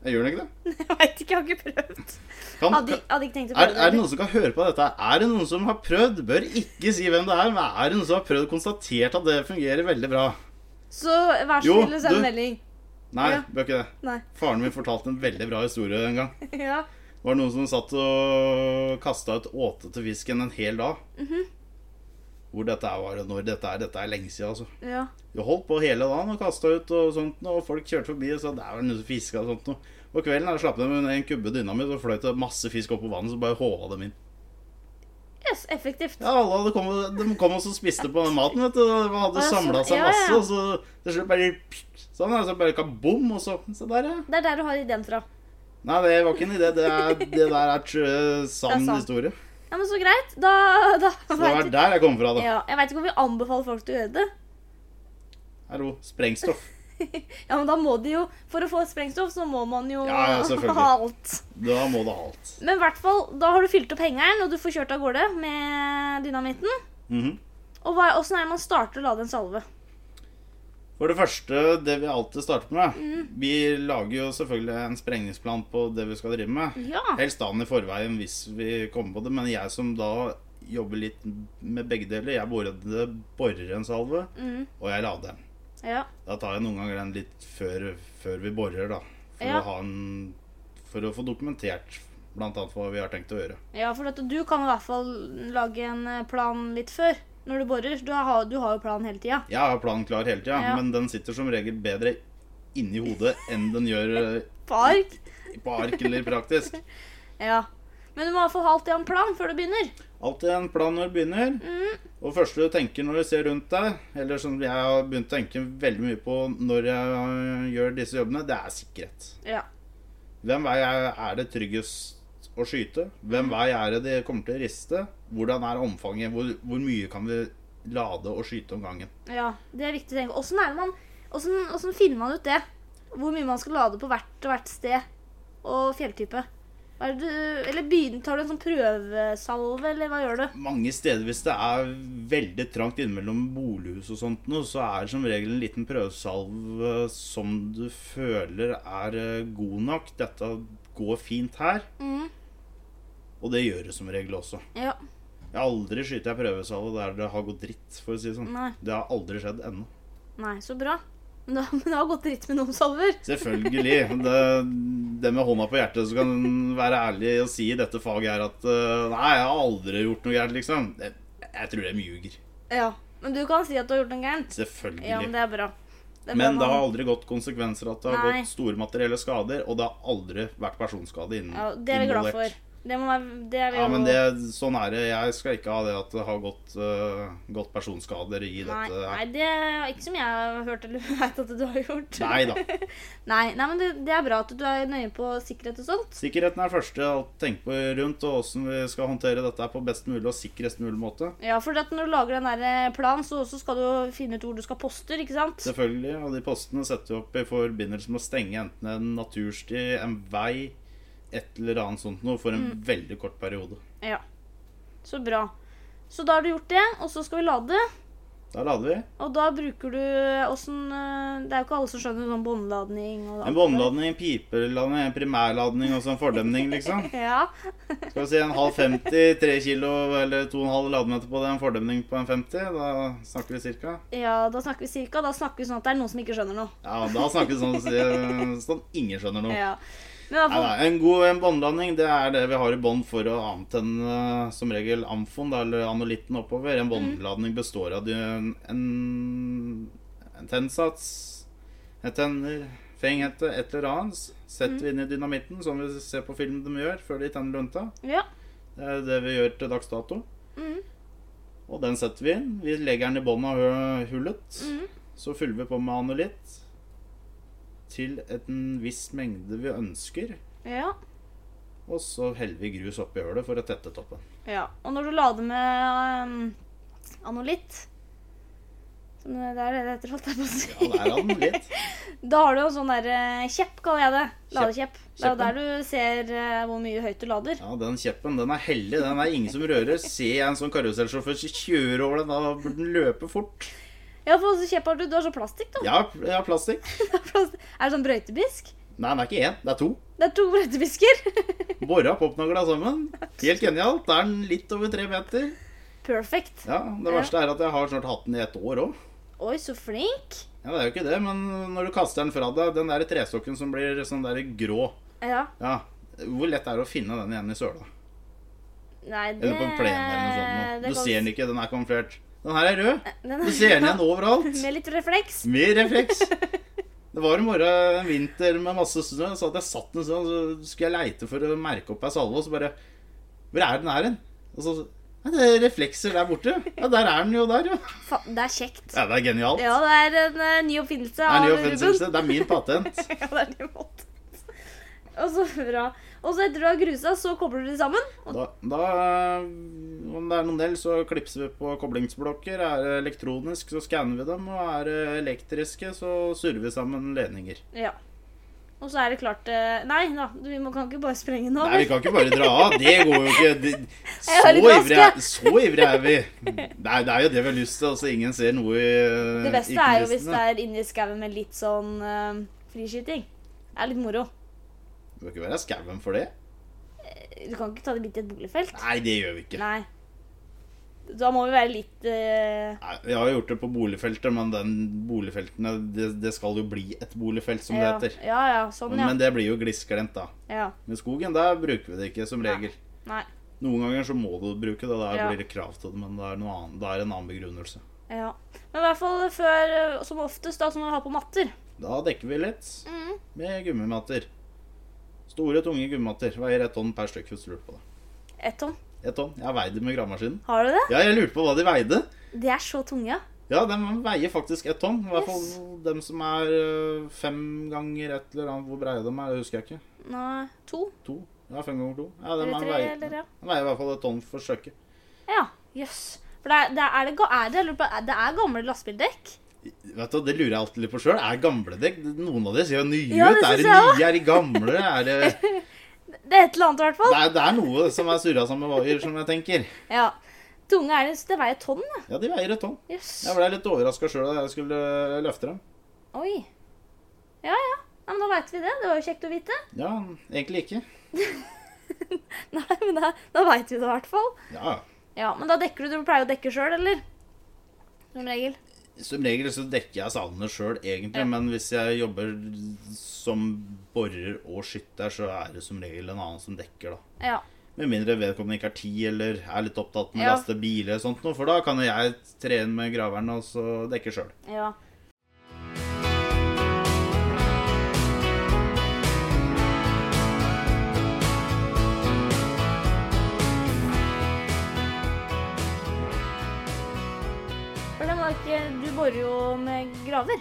[SPEAKER 2] Jeg gjør ikke det.
[SPEAKER 1] *laughs* Jeg veit ikke, jeg har ikke prøvd.
[SPEAKER 2] Kan,
[SPEAKER 1] Hadde, hadde ikke tenkt å
[SPEAKER 2] Er,
[SPEAKER 1] prøve
[SPEAKER 2] er det noen som kan høre på dette? Er det noen som har prøvd? Bør ikke si hvem det er, men er det noen som har prøvd og konstatert at det fungerer veldig bra?
[SPEAKER 1] Så vær så
[SPEAKER 2] Jo,
[SPEAKER 1] snill å sende
[SPEAKER 2] du-
[SPEAKER 1] melding.
[SPEAKER 2] Nei,
[SPEAKER 1] Ja.
[SPEAKER 2] bør ikke det.
[SPEAKER 1] Nei. *laughs*
[SPEAKER 2] Faren min fortalte en veldig bra historie en gang.
[SPEAKER 1] Ja.
[SPEAKER 2] Det var noen som satt og kasta ut åte til fisken en hel dag.
[SPEAKER 1] Mhm.
[SPEAKER 2] Hvor dette er, var det når dette er. Dette er lenge siden, altså.
[SPEAKER 1] ja.
[SPEAKER 2] De holdt på hele dagen og kasta ut og sånt, og folk kjørte forbi og sa det er vel noen som fiska og sånt noe. På kvelden da, slapp de med en kubbe dynamitt og fløy til masse fisk opp på vannet, så bare håva dem inn.
[SPEAKER 1] Yes, effektivt.
[SPEAKER 2] Ja, alle hadde kommet, de kom også og spiste på den maten, vet du. og De
[SPEAKER 1] Å,
[SPEAKER 2] hadde
[SPEAKER 1] ja, sånn.
[SPEAKER 2] samla
[SPEAKER 1] Ja,
[SPEAKER 2] seg
[SPEAKER 1] ja.
[SPEAKER 2] masse, og så til slutt bare Sånn, og så bare kabom, og så Se der, ja.
[SPEAKER 1] Det er der du har ideen fra.
[SPEAKER 2] Nei, det var ikke en idé. Det, er, det der er tr
[SPEAKER 1] Det
[SPEAKER 2] sann
[SPEAKER 1] er sant. *laughs*
[SPEAKER 2] historie.
[SPEAKER 1] Ja, men Så greit. Da, da
[SPEAKER 2] Så det var
[SPEAKER 1] vet-
[SPEAKER 2] der jeg kom fra, da.
[SPEAKER 1] ja, Jeg veit ikke om vi anbefaler folk til å gjøre det.
[SPEAKER 2] Hallo. Sprengstoff.
[SPEAKER 1] Ja, men da må de jo, For å få sprengstoff, så må man jo
[SPEAKER 2] Ja, ja, selvfølgelig.
[SPEAKER 1] *laughs* ha alt.
[SPEAKER 2] Da må det ha alt.
[SPEAKER 1] Men i hvert fall, da har du fylt opp hengeren, og du får kjørt av gårde med dynamitten.
[SPEAKER 2] Mhm.
[SPEAKER 1] Og hva- åssen er det man starter å lade en salve?
[SPEAKER 2] For det første, det vi alltid starter med
[SPEAKER 1] Mhm.
[SPEAKER 2] Vi lager jo selvfølgelig en sprengningsplan på det vi skal drive med.
[SPEAKER 1] Ja.
[SPEAKER 2] Helst dagen i forveien hvis vi kommer på det, men jeg som da jobber litt med begge deler, jeg både borer en salve,
[SPEAKER 1] Mm,
[SPEAKER 2] og jeg lader den.
[SPEAKER 1] ja.
[SPEAKER 2] Da tar jeg noen ganger den litt før, før vi borer, da. For,
[SPEAKER 1] Ja.
[SPEAKER 2] å ha en, for å få dokumentert blant annet hva vi har tenkt å gjøre.
[SPEAKER 1] ja, for at du kan i hvert fall lage en eh, plan litt før. Når du borer. Du har, du har jo plan hele tida.
[SPEAKER 2] Jeg har planen klar hele tida,
[SPEAKER 1] Ja.
[SPEAKER 2] men den sitter som regel bedre inni hodet enn den gjør eh,
[SPEAKER 1] På ark.
[SPEAKER 2] på ark eller praktisk.
[SPEAKER 1] Ja. Men du må i hvert fall ha alltid ha en plan før du begynner.
[SPEAKER 2] Alltid en plan når du begynner. Og det første du tenker når du ser rundt deg, eller som jeg har begynt å tenke veldig mye på når jeg øh, gjør disse jobbene, det er sikkerhet.
[SPEAKER 1] Ja.
[SPEAKER 2] Hvem vei er er det tryggest å skyte? Hvem vei er det det kommer til å riste? Hvordan er omfanget? Hvor, hvor mye kan vi lade og skyte om gangen?
[SPEAKER 1] ja. Det er viktig å tenke. Åssen er det man hvordan- hvordan finner man ut det? Hvor mye man skal lade på hvert og hvert sted og fjelltype? Hva er det du, eller begynner, tar du en sånn prøvesalve, eller hva gjør du?
[SPEAKER 2] Mange steder hvis det er veldig trangt innimellom bolighus og sånt noe, så er det som regel en liten prøvesalve som du føler er eh, god nok. Dette går fint her.
[SPEAKER 1] Mm.
[SPEAKER 2] Og det gjør det som regel også.
[SPEAKER 1] Ja.
[SPEAKER 2] Jeg har aldri skutt ei prøvesalve der det har gått dritt, for å si det sånn.
[SPEAKER 1] Nei.
[SPEAKER 2] Det har aldri skjedd ennå.
[SPEAKER 1] Nei, så bra. Men det, *laughs* men det har gått dritt med noen salver.
[SPEAKER 2] Selvfølgelig. *laughs* Det, det med hånda på hjertet som kan være ærlig og si i dette faget her at eh, Nei, jeg har aldri gjort noe gærent, liksom. Jeg, jeg tror de ljuger.
[SPEAKER 1] Ja. Men du kan si at du har gjort noe gærent.
[SPEAKER 2] Selvfølgelig.
[SPEAKER 1] Ja, men
[SPEAKER 2] men det,
[SPEAKER 1] det er bra. Det er bra
[SPEAKER 2] har
[SPEAKER 1] man-
[SPEAKER 2] aldri gått konsekvenser at det har
[SPEAKER 1] Nei.
[SPEAKER 2] gått store materielle skader, og det har aldri vært personskade innen
[SPEAKER 1] ja, Det er vi glad
[SPEAKER 2] involvert.
[SPEAKER 1] for. Det må være det er vi
[SPEAKER 2] Ja,
[SPEAKER 1] jo-
[SPEAKER 2] men det, sånn er det. Jeg skal ikke ha det at det har gått, eh, gått personskader i dette.
[SPEAKER 1] Nei, nei,
[SPEAKER 2] her.
[SPEAKER 1] det er ikke som jeg har hørt eller *laughs* veit at du har gjort.
[SPEAKER 2] Nei da.
[SPEAKER 1] Nei, nei, men det, det er bra at du er nøye på sikkerhet og sånt.
[SPEAKER 2] Sikkerheten er første å tenke på rundt, og hvordan vi skal håndtere dette her på best mulig og sikrest mulig måte.
[SPEAKER 1] Ja, for at når du lager den der eh, planen, så så skal du jo finne ut hvor du skal poste, ikke sant?
[SPEAKER 2] Selvfølgelig, og de postene setter vi opp i forbindelse med å stenge enten en natursti, en vei, et eller annet sånt noe for
[SPEAKER 1] Mm.
[SPEAKER 2] en veldig kort periode.
[SPEAKER 1] Ja. Så bra. Så da har du gjort det, og så skal vi lade.
[SPEAKER 2] Da lader vi.
[SPEAKER 1] Og da bruker du åssen øh, Det er jo ikke alle som skjønner sånn båndladning og
[SPEAKER 2] En båndladning, en pipeladning, en primærladning og så en fordemning, liksom.
[SPEAKER 1] Ja.
[SPEAKER 2] Skal vi si en halv 50, tre kilo eller to og en halv lademeter på det, en fordemning på en 50, da snakker vi cirka.
[SPEAKER 1] ja, da snakker vi cirka. Da snakker vi sånn at det er noen som ikke skjønner noe.
[SPEAKER 2] Ja, da snakker vi sånn, si- sånn ingen skjønner noe.
[SPEAKER 1] Ja. Men i hvert
[SPEAKER 2] Nei,
[SPEAKER 1] fall
[SPEAKER 2] nei, en god en båndladning det er det vi har i bånd for å antenne eh, som regel amfon da, eller anolitten oppover. En båndladning består av de- en, en, en tennsats, en tenner, fenghette, et eller annet. Setter vi inn i dynamitten, som vi ser på film de gjør før de tenner lunta.
[SPEAKER 1] Ja.
[SPEAKER 2] Det er det vi gjør til dags dato.
[SPEAKER 1] Mhm.
[SPEAKER 2] Og den setter vi inn. Vi legger den i bånn av hø- hullet.
[SPEAKER 1] Mhm.
[SPEAKER 2] Så fyller vi på med anolitt til en viss mengde vi ønsker.
[SPEAKER 1] ja.
[SPEAKER 2] Og så heller vi grus oppi hølet for å tette toppen.
[SPEAKER 1] Ja, og når du lader med um, anolitt som Det det er det det heter, holdt jeg på å si.
[SPEAKER 2] Ja, der hadde den litt.
[SPEAKER 1] *laughs* Da har du en sånn der eh, kjepp, kaller jeg det. Ladekjepp. Det er jo
[SPEAKER 2] Kjeppen.
[SPEAKER 1] der du ser eh, hvor mye høyt du lader.
[SPEAKER 2] Ja, den kjeppen, den er hellig. Den er ingen som rører. Ser jeg en sånn karusellsjåfør som kjører over den, da burde den løpe fort.
[SPEAKER 1] Ja, for også kjepp har du. Du har sånn plastikk, da.
[SPEAKER 2] Jeg har, jeg har plastikk.
[SPEAKER 1] Plast- Er det sånn brøytebisk?
[SPEAKER 2] Nei, det er ikke én, det er to.
[SPEAKER 1] Det er to *laughs* brøytebisker.
[SPEAKER 2] Bora popnagla sammen. Helt genialt. Da er den litt over tre meter.
[SPEAKER 1] Perfect.
[SPEAKER 2] Ja, Det verste er at jeg har snart hatt den i ett år òg.
[SPEAKER 1] Oi, så flink.
[SPEAKER 2] Ja, det er jo ikke det, men når du kaster den fra deg, den der trestokken som blir sånn der grå
[SPEAKER 1] Ja.
[SPEAKER 2] Ja, Hvor lett er det å finne den igjen i søla?
[SPEAKER 1] Nei, det
[SPEAKER 2] Eller på en plen eller noe sånt.
[SPEAKER 1] Eh, det
[SPEAKER 2] nå. Du
[SPEAKER 1] kan-
[SPEAKER 2] ser den ikke, den er kamuflert. Den her er rød.
[SPEAKER 1] *laughs* Den
[SPEAKER 2] Du ser den igjen overalt.
[SPEAKER 1] Med litt refleks.
[SPEAKER 2] Med *laughs* refleks. Det var en morgen, en vinter med masse snø, så hadde jeg satt den sånn, så skulle jeg leite for å merke opp ei salve, og så bare Hvor er den her hen? Og så Nei, det er reflekser der borte. Ja, der er den jo der, jo.
[SPEAKER 1] Fa det er kjekt.
[SPEAKER 2] Ja, det er genialt.
[SPEAKER 1] Ja, det er en eh, ny oppfinnelse
[SPEAKER 2] Det er
[SPEAKER 1] av
[SPEAKER 2] ny
[SPEAKER 1] Ruben.
[SPEAKER 2] oppfinnelse. Det er min *laughs* patent.
[SPEAKER 1] *laughs* Ja, det er din måte. Og så bra. Og så etter du har grusa, så kobler du det sammen. Og
[SPEAKER 2] Da, da øh, Om det er noen del, så klipser vi på koblingsblokker. Er det elektronisk, så skanner vi dem. Og er det elektriske, så surrer vi sammen ledninger.
[SPEAKER 1] ja. Og så er det klart eh, Nei da, du, vi må, kan ikke bare sprenge nå.
[SPEAKER 2] Nei, vi
[SPEAKER 1] vel?
[SPEAKER 2] kan ikke bare dra av. Det går jo ikke.
[SPEAKER 1] *laughs*
[SPEAKER 2] Det,
[SPEAKER 1] Jeg
[SPEAKER 2] så,
[SPEAKER 1] har litt
[SPEAKER 2] ivrig, er-
[SPEAKER 1] raske.
[SPEAKER 2] så ivrig er vi. Det er, det er jo det vi har lyst til. Altså, ingen ser noe i øh,
[SPEAKER 1] Det beste
[SPEAKER 2] i
[SPEAKER 1] er jo hvis
[SPEAKER 2] kulissene.
[SPEAKER 1] det er inni skauen med litt sånn eh, friskyting. Det er litt moro.
[SPEAKER 2] Det bør ikke være skauen for det.
[SPEAKER 1] Du kan ikke ta det midt i et boligfelt.
[SPEAKER 2] Nei, det gjør vi ikke.
[SPEAKER 1] Nei. Da må vi være litt eh,
[SPEAKER 2] Nei, vi har jo gjort det på boligfelter, men den boligfeltene, det, det skal jo bli et boligfelt, som
[SPEAKER 1] ja.
[SPEAKER 2] det heter.
[SPEAKER 1] ja ja, sånn ja.
[SPEAKER 2] Men det blir jo glisglemt, da.
[SPEAKER 1] ja.
[SPEAKER 2] Men skogen, der bruker vi det ikke, som regel.
[SPEAKER 1] Nei.
[SPEAKER 2] Noen ganger så må du bruke det, der
[SPEAKER 1] Ja.
[SPEAKER 2] blir det krav til det, men det er, noe annet, det er en annen begrunnelse.
[SPEAKER 1] Ja. Men i hvert fall før, eh, som oftest, da, så må du ha på matter.
[SPEAKER 2] Da dekker vi litt
[SPEAKER 1] Mm.
[SPEAKER 2] med gummimatter. Store, tunge gummimatter. Veier ett tonn per stykk, hvis du lurer på det.
[SPEAKER 1] Ett tonn.
[SPEAKER 2] Ett tonn. Jeg veide med gravemaskinen.
[SPEAKER 1] Har du det?
[SPEAKER 2] Ja, jeg lurte på hva de veide.
[SPEAKER 1] Det er så tunge. ja.
[SPEAKER 2] Ja, de veier faktisk ett tonn. I hvert fall
[SPEAKER 1] Yes.
[SPEAKER 2] dem som er øh, fem ganger et eller annet. Hvor breie de er, det husker jeg ikke.
[SPEAKER 1] Nei, to?
[SPEAKER 2] To? Ja, fem ganger to. Ja, de
[SPEAKER 1] Eller
[SPEAKER 2] er
[SPEAKER 1] tre,
[SPEAKER 2] veier,
[SPEAKER 1] eller ja.
[SPEAKER 2] de veier i hvert fall et tonn for stykket.
[SPEAKER 1] Ja, jøss. For det er, det er, er, det, ga- er, det, jeg lurer på, er det er gamle lastebildekk?
[SPEAKER 2] Vet du, Det lurer jeg alltid litt på sjøl. Er gamle dekk Noen av de ser jo nye
[SPEAKER 1] Ja, det
[SPEAKER 2] ut. Er
[SPEAKER 1] synes
[SPEAKER 2] det
[SPEAKER 1] jeg
[SPEAKER 2] nye? Er de gamle? Er det
[SPEAKER 1] *laughs*
[SPEAKER 2] Det
[SPEAKER 1] Det er et eller annet i hvert fall.
[SPEAKER 2] er, det er noe som er surra sammen med vaier, som jeg tenker.
[SPEAKER 1] Ja. Tunge er det, det veier et tonn, da.
[SPEAKER 2] Ja, de veier et tonn.
[SPEAKER 1] Jøss.
[SPEAKER 2] Jeg ble litt overraska sjøl da jeg skulle løfte dem.
[SPEAKER 1] Oi. Ja, ja. ja men da veit vi det. Det var jo kjekt å vite. *laughs*
[SPEAKER 2] Ja, egentlig ikke.
[SPEAKER 1] Nei, men da, da veit vi det i hvert fall.
[SPEAKER 2] Ja,
[SPEAKER 1] Ja, men da dekker du Du pleier å dekke sjøl, eller? Som regel.
[SPEAKER 2] Som regel så dekker jeg salene sjøl, egentlig.
[SPEAKER 1] Ja.
[SPEAKER 2] Men hvis jeg jobber som borer og skytter, så er det som regel en annen som dekker, da.
[SPEAKER 1] Ja.
[SPEAKER 2] Med mindre vedkommende ikke er ti eller er litt opptatt med å
[SPEAKER 1] Ja.
[SPEAKER 2] laste biler og sånt noe, for da kan jo jeg tre inn med graveren og så dekke sjøl.
[SPEAKER 1] ja. borer jo med graver.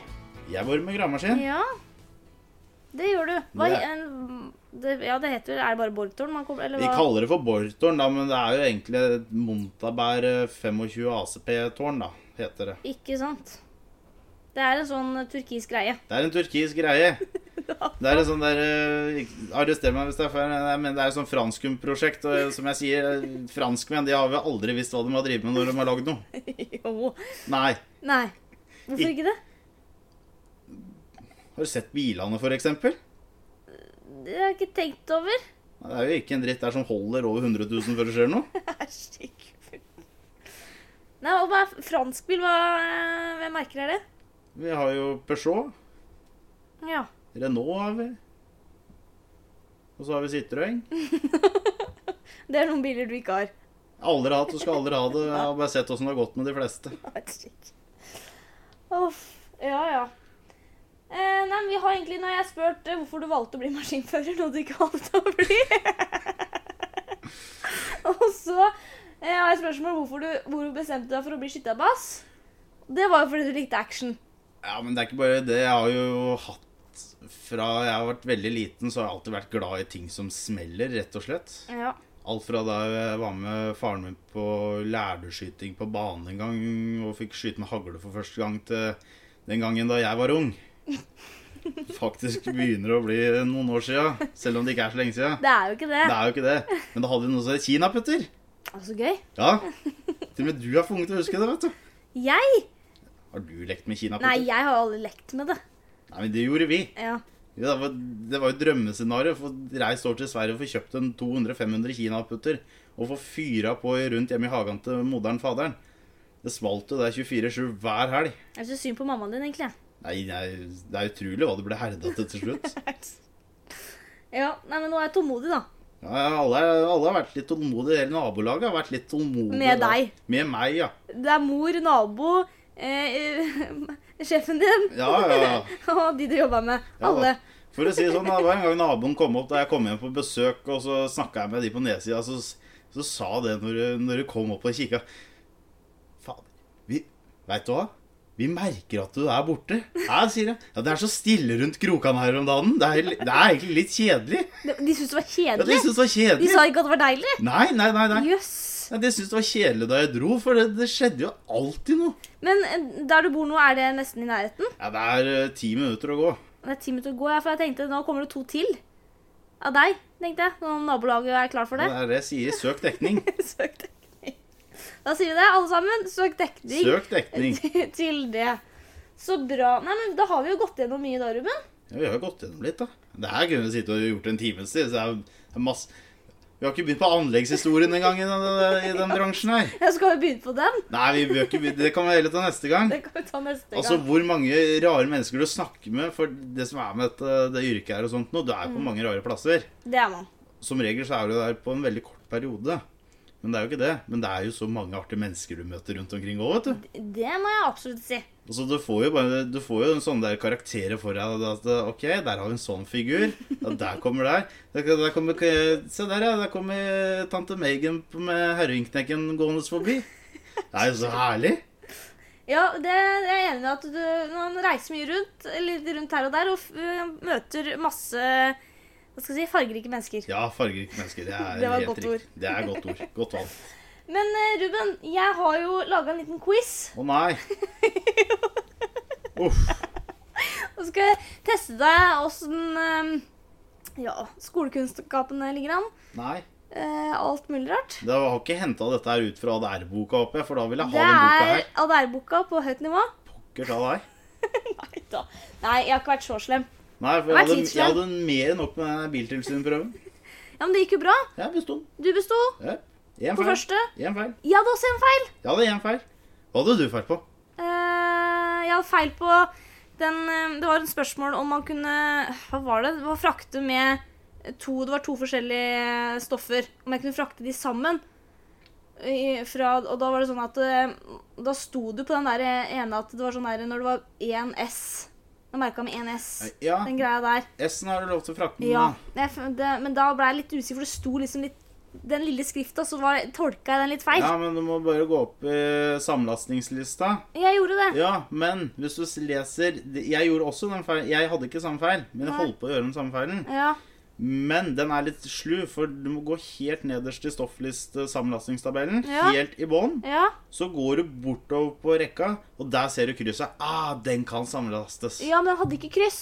[SPEAKER 2] Jeg borer med gravemaskin.
[SPEAKER 1] Ja. Det gjør du. Hva,
[SPEAKER 2] Det-
[SPEAKER 1] en- det, ja, det heter vel Er det bare boretårn man kommer Eller
[SPEAKER 2] Vi
[SPEAKER 1] hva?
[SPEAKER 2] kaller det for bortårn, da, men det er jo egentlig et Montabær eh, 25 ACP-tårn, da, heter det.
[SPEAKER 1] Ikke sant? Det er en sånn turkis greie. *laughs*
[SPEAKER 2] Det er en turkisk greie. Det er en sånn der eh, ikke- Arrester meg hvis det er feil, nei, men det er et sånn franskumprosjekt. Og som jeg sier, eh, franskmenn de har vel aldri visst hva de har drevet med når de har lagd noe.
[SPEAKER 1] jo.
[SPEAKER 2] Nei.
[SPEAKER 1] Nei. Hvorfor
[SPEAKER 2] I-
[SPEAKER 1] ikke det?
[SPEAKER 2] Har du sett bilene, for eksempel?
[SPEAKER 1] Det har jeg ikke tenkt over.
[SPEAKER 2] Det er jo ikke en dritt der som holder over 100 000 før det skjer noe.
[SPEAKER 1] *laughs* Æsj, ikke fullt. Nei, og hva er fransk bil? Hva, hvem merker er det?
[SPEAKER 2] Vi har jo Peugeot.
[SPEAKER 1] Ja.
[SPEAKER 2] Renault har vi. Og så har vi Citroën.
[SPEAKER 1] Det er noen biler du ikke har. *laughs*
[SPEAKER 2] Aldri hatt og skal aldri ha det. Jeg har bare sett åssen det har gått med de fleste.
[SPEAKER 1] Æsj, ikke. Uff. Ja, ja. Eh, nei, men vi har egentlig, når jeg har spurt eh, hvorfor du valgte å bli maskinfører, noe du ikke valgte å bli. *laughs* og så eh, har jeg spørsmål hvorfor du, hvor du bestemte deg for å bli skytterbass. Det var jo fordi du likte action.
[SPEAKER 2] Ja, men det er ikke bare det. Jeg har jo hatt Fra jeg har vært veldig liten, så har jeg alltid vært glad i ting som smeller, rett og slett.
[SPEAKER 1] Ja.
[SPEAKER 2] Alt fra da jeg var med faren min på lærdeskyting på bane en gang og fikk skyte med hagle for første gang, til den gangen da jeg var ung. Faktisk begynner å bli noen år sia, selv om det ikke er så lenge sia.
[SPEAKER 1] Det er jo ikke det.
[SPEAKER 2] Det er jo ikke det. Men da hadde vi noe som het kinaputter.
[SPEAKER 1] Det er så gøy.
[SPEAKER 2] Ja. Til og med du er for ung til å huske det, vet du.
[SPEAKER 1] Jeg?
[SPEAKER 2] Har du lekt med
[SPEAKER 1] Nei,
[SPEAKER 2] kinaputter?
[SPEAKER 1] jeg har jo aldri lekt med det.
[SPEAKER 2] Nei, men det gjorde vi.
[SPEAKER 1] Ja.
[SPEAKER 2] Jo, Det var, det var jo drømmescenario. Få reist over til Sverige og få kjøpt en 200-500 kinaputter. Og få fyra på rundt hjemme i hagen til moderen faderen. Det smalt jo der 24-7 hver helg.
[SPEAKER 1] Jeg syns synd på mammaen din, egentlig.
[SPEAKER 2] Nei, nei, det er utrolig hva det ble herda til til slutt.
[SPEAKER 1] Ja, nei, men nå er jeg tålmodig, da.
[SPEAKER 2] Ja, ja, alle, alle har vært litt tålmodige. Hele nabolaget har vært litt tålmodige.
[SPEAKER 1] Med
[SPEAKER 2] da.
[SPEAKER 1] deg.
[SPEAKER 2] Med meg, ja.
[SPEAKER 1] Det er mor, nabo, eh, *laughs* sjefen din *laughs*
[SPEAKER 2] Ja, ja, ja.
[SPEAKER 1] og de du jobber med.
[SPEAKER 2] Ja,
[SPEAKER 1] Alle.
[SPEAKER 2] da. For å si det sånn, da, Det var en gang naboen kom opp da jeg kom hjem på besøk, og så snakka jeg med de på nedsida, så, så sa det når, du- når du kom opp og kikka Fader, vi Veit du hva? Vi merker at du er borte. Ja, sier jeg. Ja, det er så stille rundt krokene her om dagen. Det er, det er egentlig litt kjedelig.
[SPEAKER 1] De, de syntes det var
[SPEAKER 2] Ja, de
[SPEAKER 1] kjedelig.
[SPEAKER 2] syns det var
[SPEAKER 1] De
[SPEAKER 2] kjedelig.
[SPEAKER 1] sa ikke at det var deilig.
[SPEAKER 2] Nei, nei, nei. nei.
[SPEAKER 1] Jøss.
[SPEAKER 2] Ja, de syntes det var kjedelig da jeg dro, for det, det skjedde jo alltid noe.
[SPEAKER 1] Men eh, der du bor nå, er det nesten i nærheten?
[SPEAKER 2] Ja, det er eh, ti minutter å gå.
[SPEAKER 1] Det er ti minutter å gå, ja, for jeg tenkte nå kommer det to til av deg. tenkte jeg, Når nabolaget er klar for
[SPEAKER 2] Ja,
[SPEAKER 1] det.
[SPEAKER 2] Det er det jeg sier. Søk dekning.
[SPEAKER 1] *laughs* Søk dekning. Da sier vi det, alle sammen. Søk dekning.
[SPEAKER 2] Søk dekning.
[SPEAKER 1] til- *laughs* til det. Så bra. Nei, men Da har vi jo gått gjennom mye da, Ruben.
[SPEAKER 2] Ja, vi har jo gått gjennom litt, da. Det her kunne vi sitte og gjort en times tid. Så det er det er masse... Vi har ikke begynt på anleggshistorien engang i den, i den bransjen her.
[SPEAKER 1] *laughs* Jeg skal jo begynne på den.
[SPEAKER 2] Nei, vi bør ikke, begynne- det kan vi heller ta neste gang.
[SPEAKER 1] Det kan vi ta neste gang.
[SPEAKER 2] Altså hvor mange rare mennesker du snakker med for det som er med dette- det yrket her og sånt nå. Du er jo
[SPEAKER 1] Mm.
[SPEAKER 2] på mange rare plasser.
[SPEAKER 1] Det er man.
[SPEAKER 2] Som regel så er du der på en veldig kort periode. Men det er jo ikke det. Men det er jo så mange artige mennesker du møter rundt omkring òg, vet du.
[SPEAKER 1] Det må jeg absolutt si.
[SPEAKER 2] Altså, du får jo bare Du får jo en sånn der karakterer for deg at at, OK, der har vi en sånn figur. Ja, der kommer der. Der, der kommer eh, Se der, ja. Der kommer tante Megan med herringknekken gående forbi. Det er jo så herlig.
[SPEAKER 1] Ja, det jeg er jeg enig i at du når man reiser mye rundt, litt rundt her og der, og f øh, møter masse hva skal jeg si, fargerike mennesker.
[SPEAKER 2] Ja, fargerike mennesker. Det er
[SPEAKER 1] Det var et
[SPEAKER 2] helt
[SPEAKER 1] godt
[SPEAKER 2] riktig. Det er et godt ord. Godt valg.
[SPEAKER 1] Men eh, Ruben, jeg har jo laga en liten quiz.
[SPEAKER 2] Å nei. Uff.
[SPEAKER 1] Og skal jeg teste deg åssen eh, ja, skolekunnskapene ligger an.
[SPEAKER 2] Nei.
[SPEAKER 1] Eh, alt mulig rart.
[SPEAKER 2] Det har ikke henta dette her ut fra ADR-boka, håper jeg, for da vil jeg
[SPEAKER 1] Det
[SPEAKER 2] ha den boka
[SPEAKER 1] er
[SPEAKER 2] her.
[SPEAKER 1] ADR-boka på høyt nivå.
[SPEAKER 2] Pokker ta deg.
[SPEAKER 1] Nei da. Nei, jeg har ikke vært så slem.
[SPEAKER 2] Nei, for
[SPEAKER 1] Det
[SPEAKER 2] jeg
[SPEAKER 1] var
[SPEAKER 2] hadde, jeg
[SPEAKER 1] tidsskjerm.
[SPEAKER 2] hadde mer enn nok med denne biltilsynsprøven.
[SPEAKER 1] Ja, Men det gikk jo bra.
[SPEAKER 2] Jeg besto.
[SPEAKER 1] Du besto
[SPEAKER 2] Ja. En
[SPEAKER 1] på
[SPEAKER 2] feil.
[SPEAKER 1] første.
[SPEAKER 2] En feil.
[SPEAKER 1] Jeg hadde også en feil.
[SPEAKER 2] Jeg hadde én feil. Hva hadde du feil på?
[SPEAKER 1] Eh, jeg hadde feil på den eh, Det var et spørsmål om man kunne Hva var det? Det var frakte med to Det var to forskjellige stoffer. Om jeg kunne frakte de sammen. I, fra, og da var det sånn at eh, Da sto du på den der ene at det var sånn der når det var én S. Jeg merka med én S.
[SPEAKER 2] Ja,
[SPEAKER 1] Den greia der.
[SPEAKER 2] S-en har du lov til å frakte med.
[SPEAKER 1] Ja. Jeg, f- det, men da ble jeg litt usikker, for det sto liksom litt den lille skrifta, så var, tolka jeg den litt feil.
[SPEAKER 2] Ja, men du må bare gå opp i samlastningslista.
[SPEAKER 1] Jeg gjorde det.
[SPEAKER 2] Ja, men hvis du leser Jeg gjorde også den feilen. Jeg hadde ikke samme feil, men jeg
[SPEAKER 1] Nei.
[SPEAKER 2] holdt på å gjøre den samme feilen.
[SPEAKER 1] Ja.
[SPEAKER 2] Men den er litt slu, for du må gå helt nederst i stoffliste-sammenlastningstabellen.
[SPEAKER 1] Ja.
[SPEAKER 2] Helt i bånn.
[SPEAKER 1] ja.
[SPEAKER 2] Så går du bortover på rekka, og der ser du krysset. Ah, den kan sammenlastes.
[SPEAKER 1] Ja, men den hadde ikke kryss.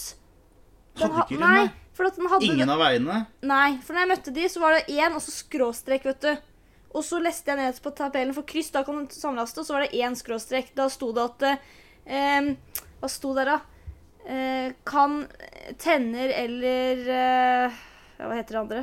[SPEAKER 1] Den
[SPEAKER 2] Hadde
[SPEAKER 1] ha-
[SPEAKER 2] ikke den,
[SPEAKER 1] nei,
[SPEAKER 2] nei.
[SPEAKER 1] for at den hadde
[SPEAKER 2] Ingen av veiene.
[SPEAKER 1] Nei, for når jeg møtte de, så var det én, og så skråstrek, vet du. Og så leste jeg ned på tabellen for kryss, da kan du samlaste, og så var det én skråstrek. Da sto det at eh, em, Hva sto der, da? Eh, kan tenner eller eh, ja, Hva heter det andre?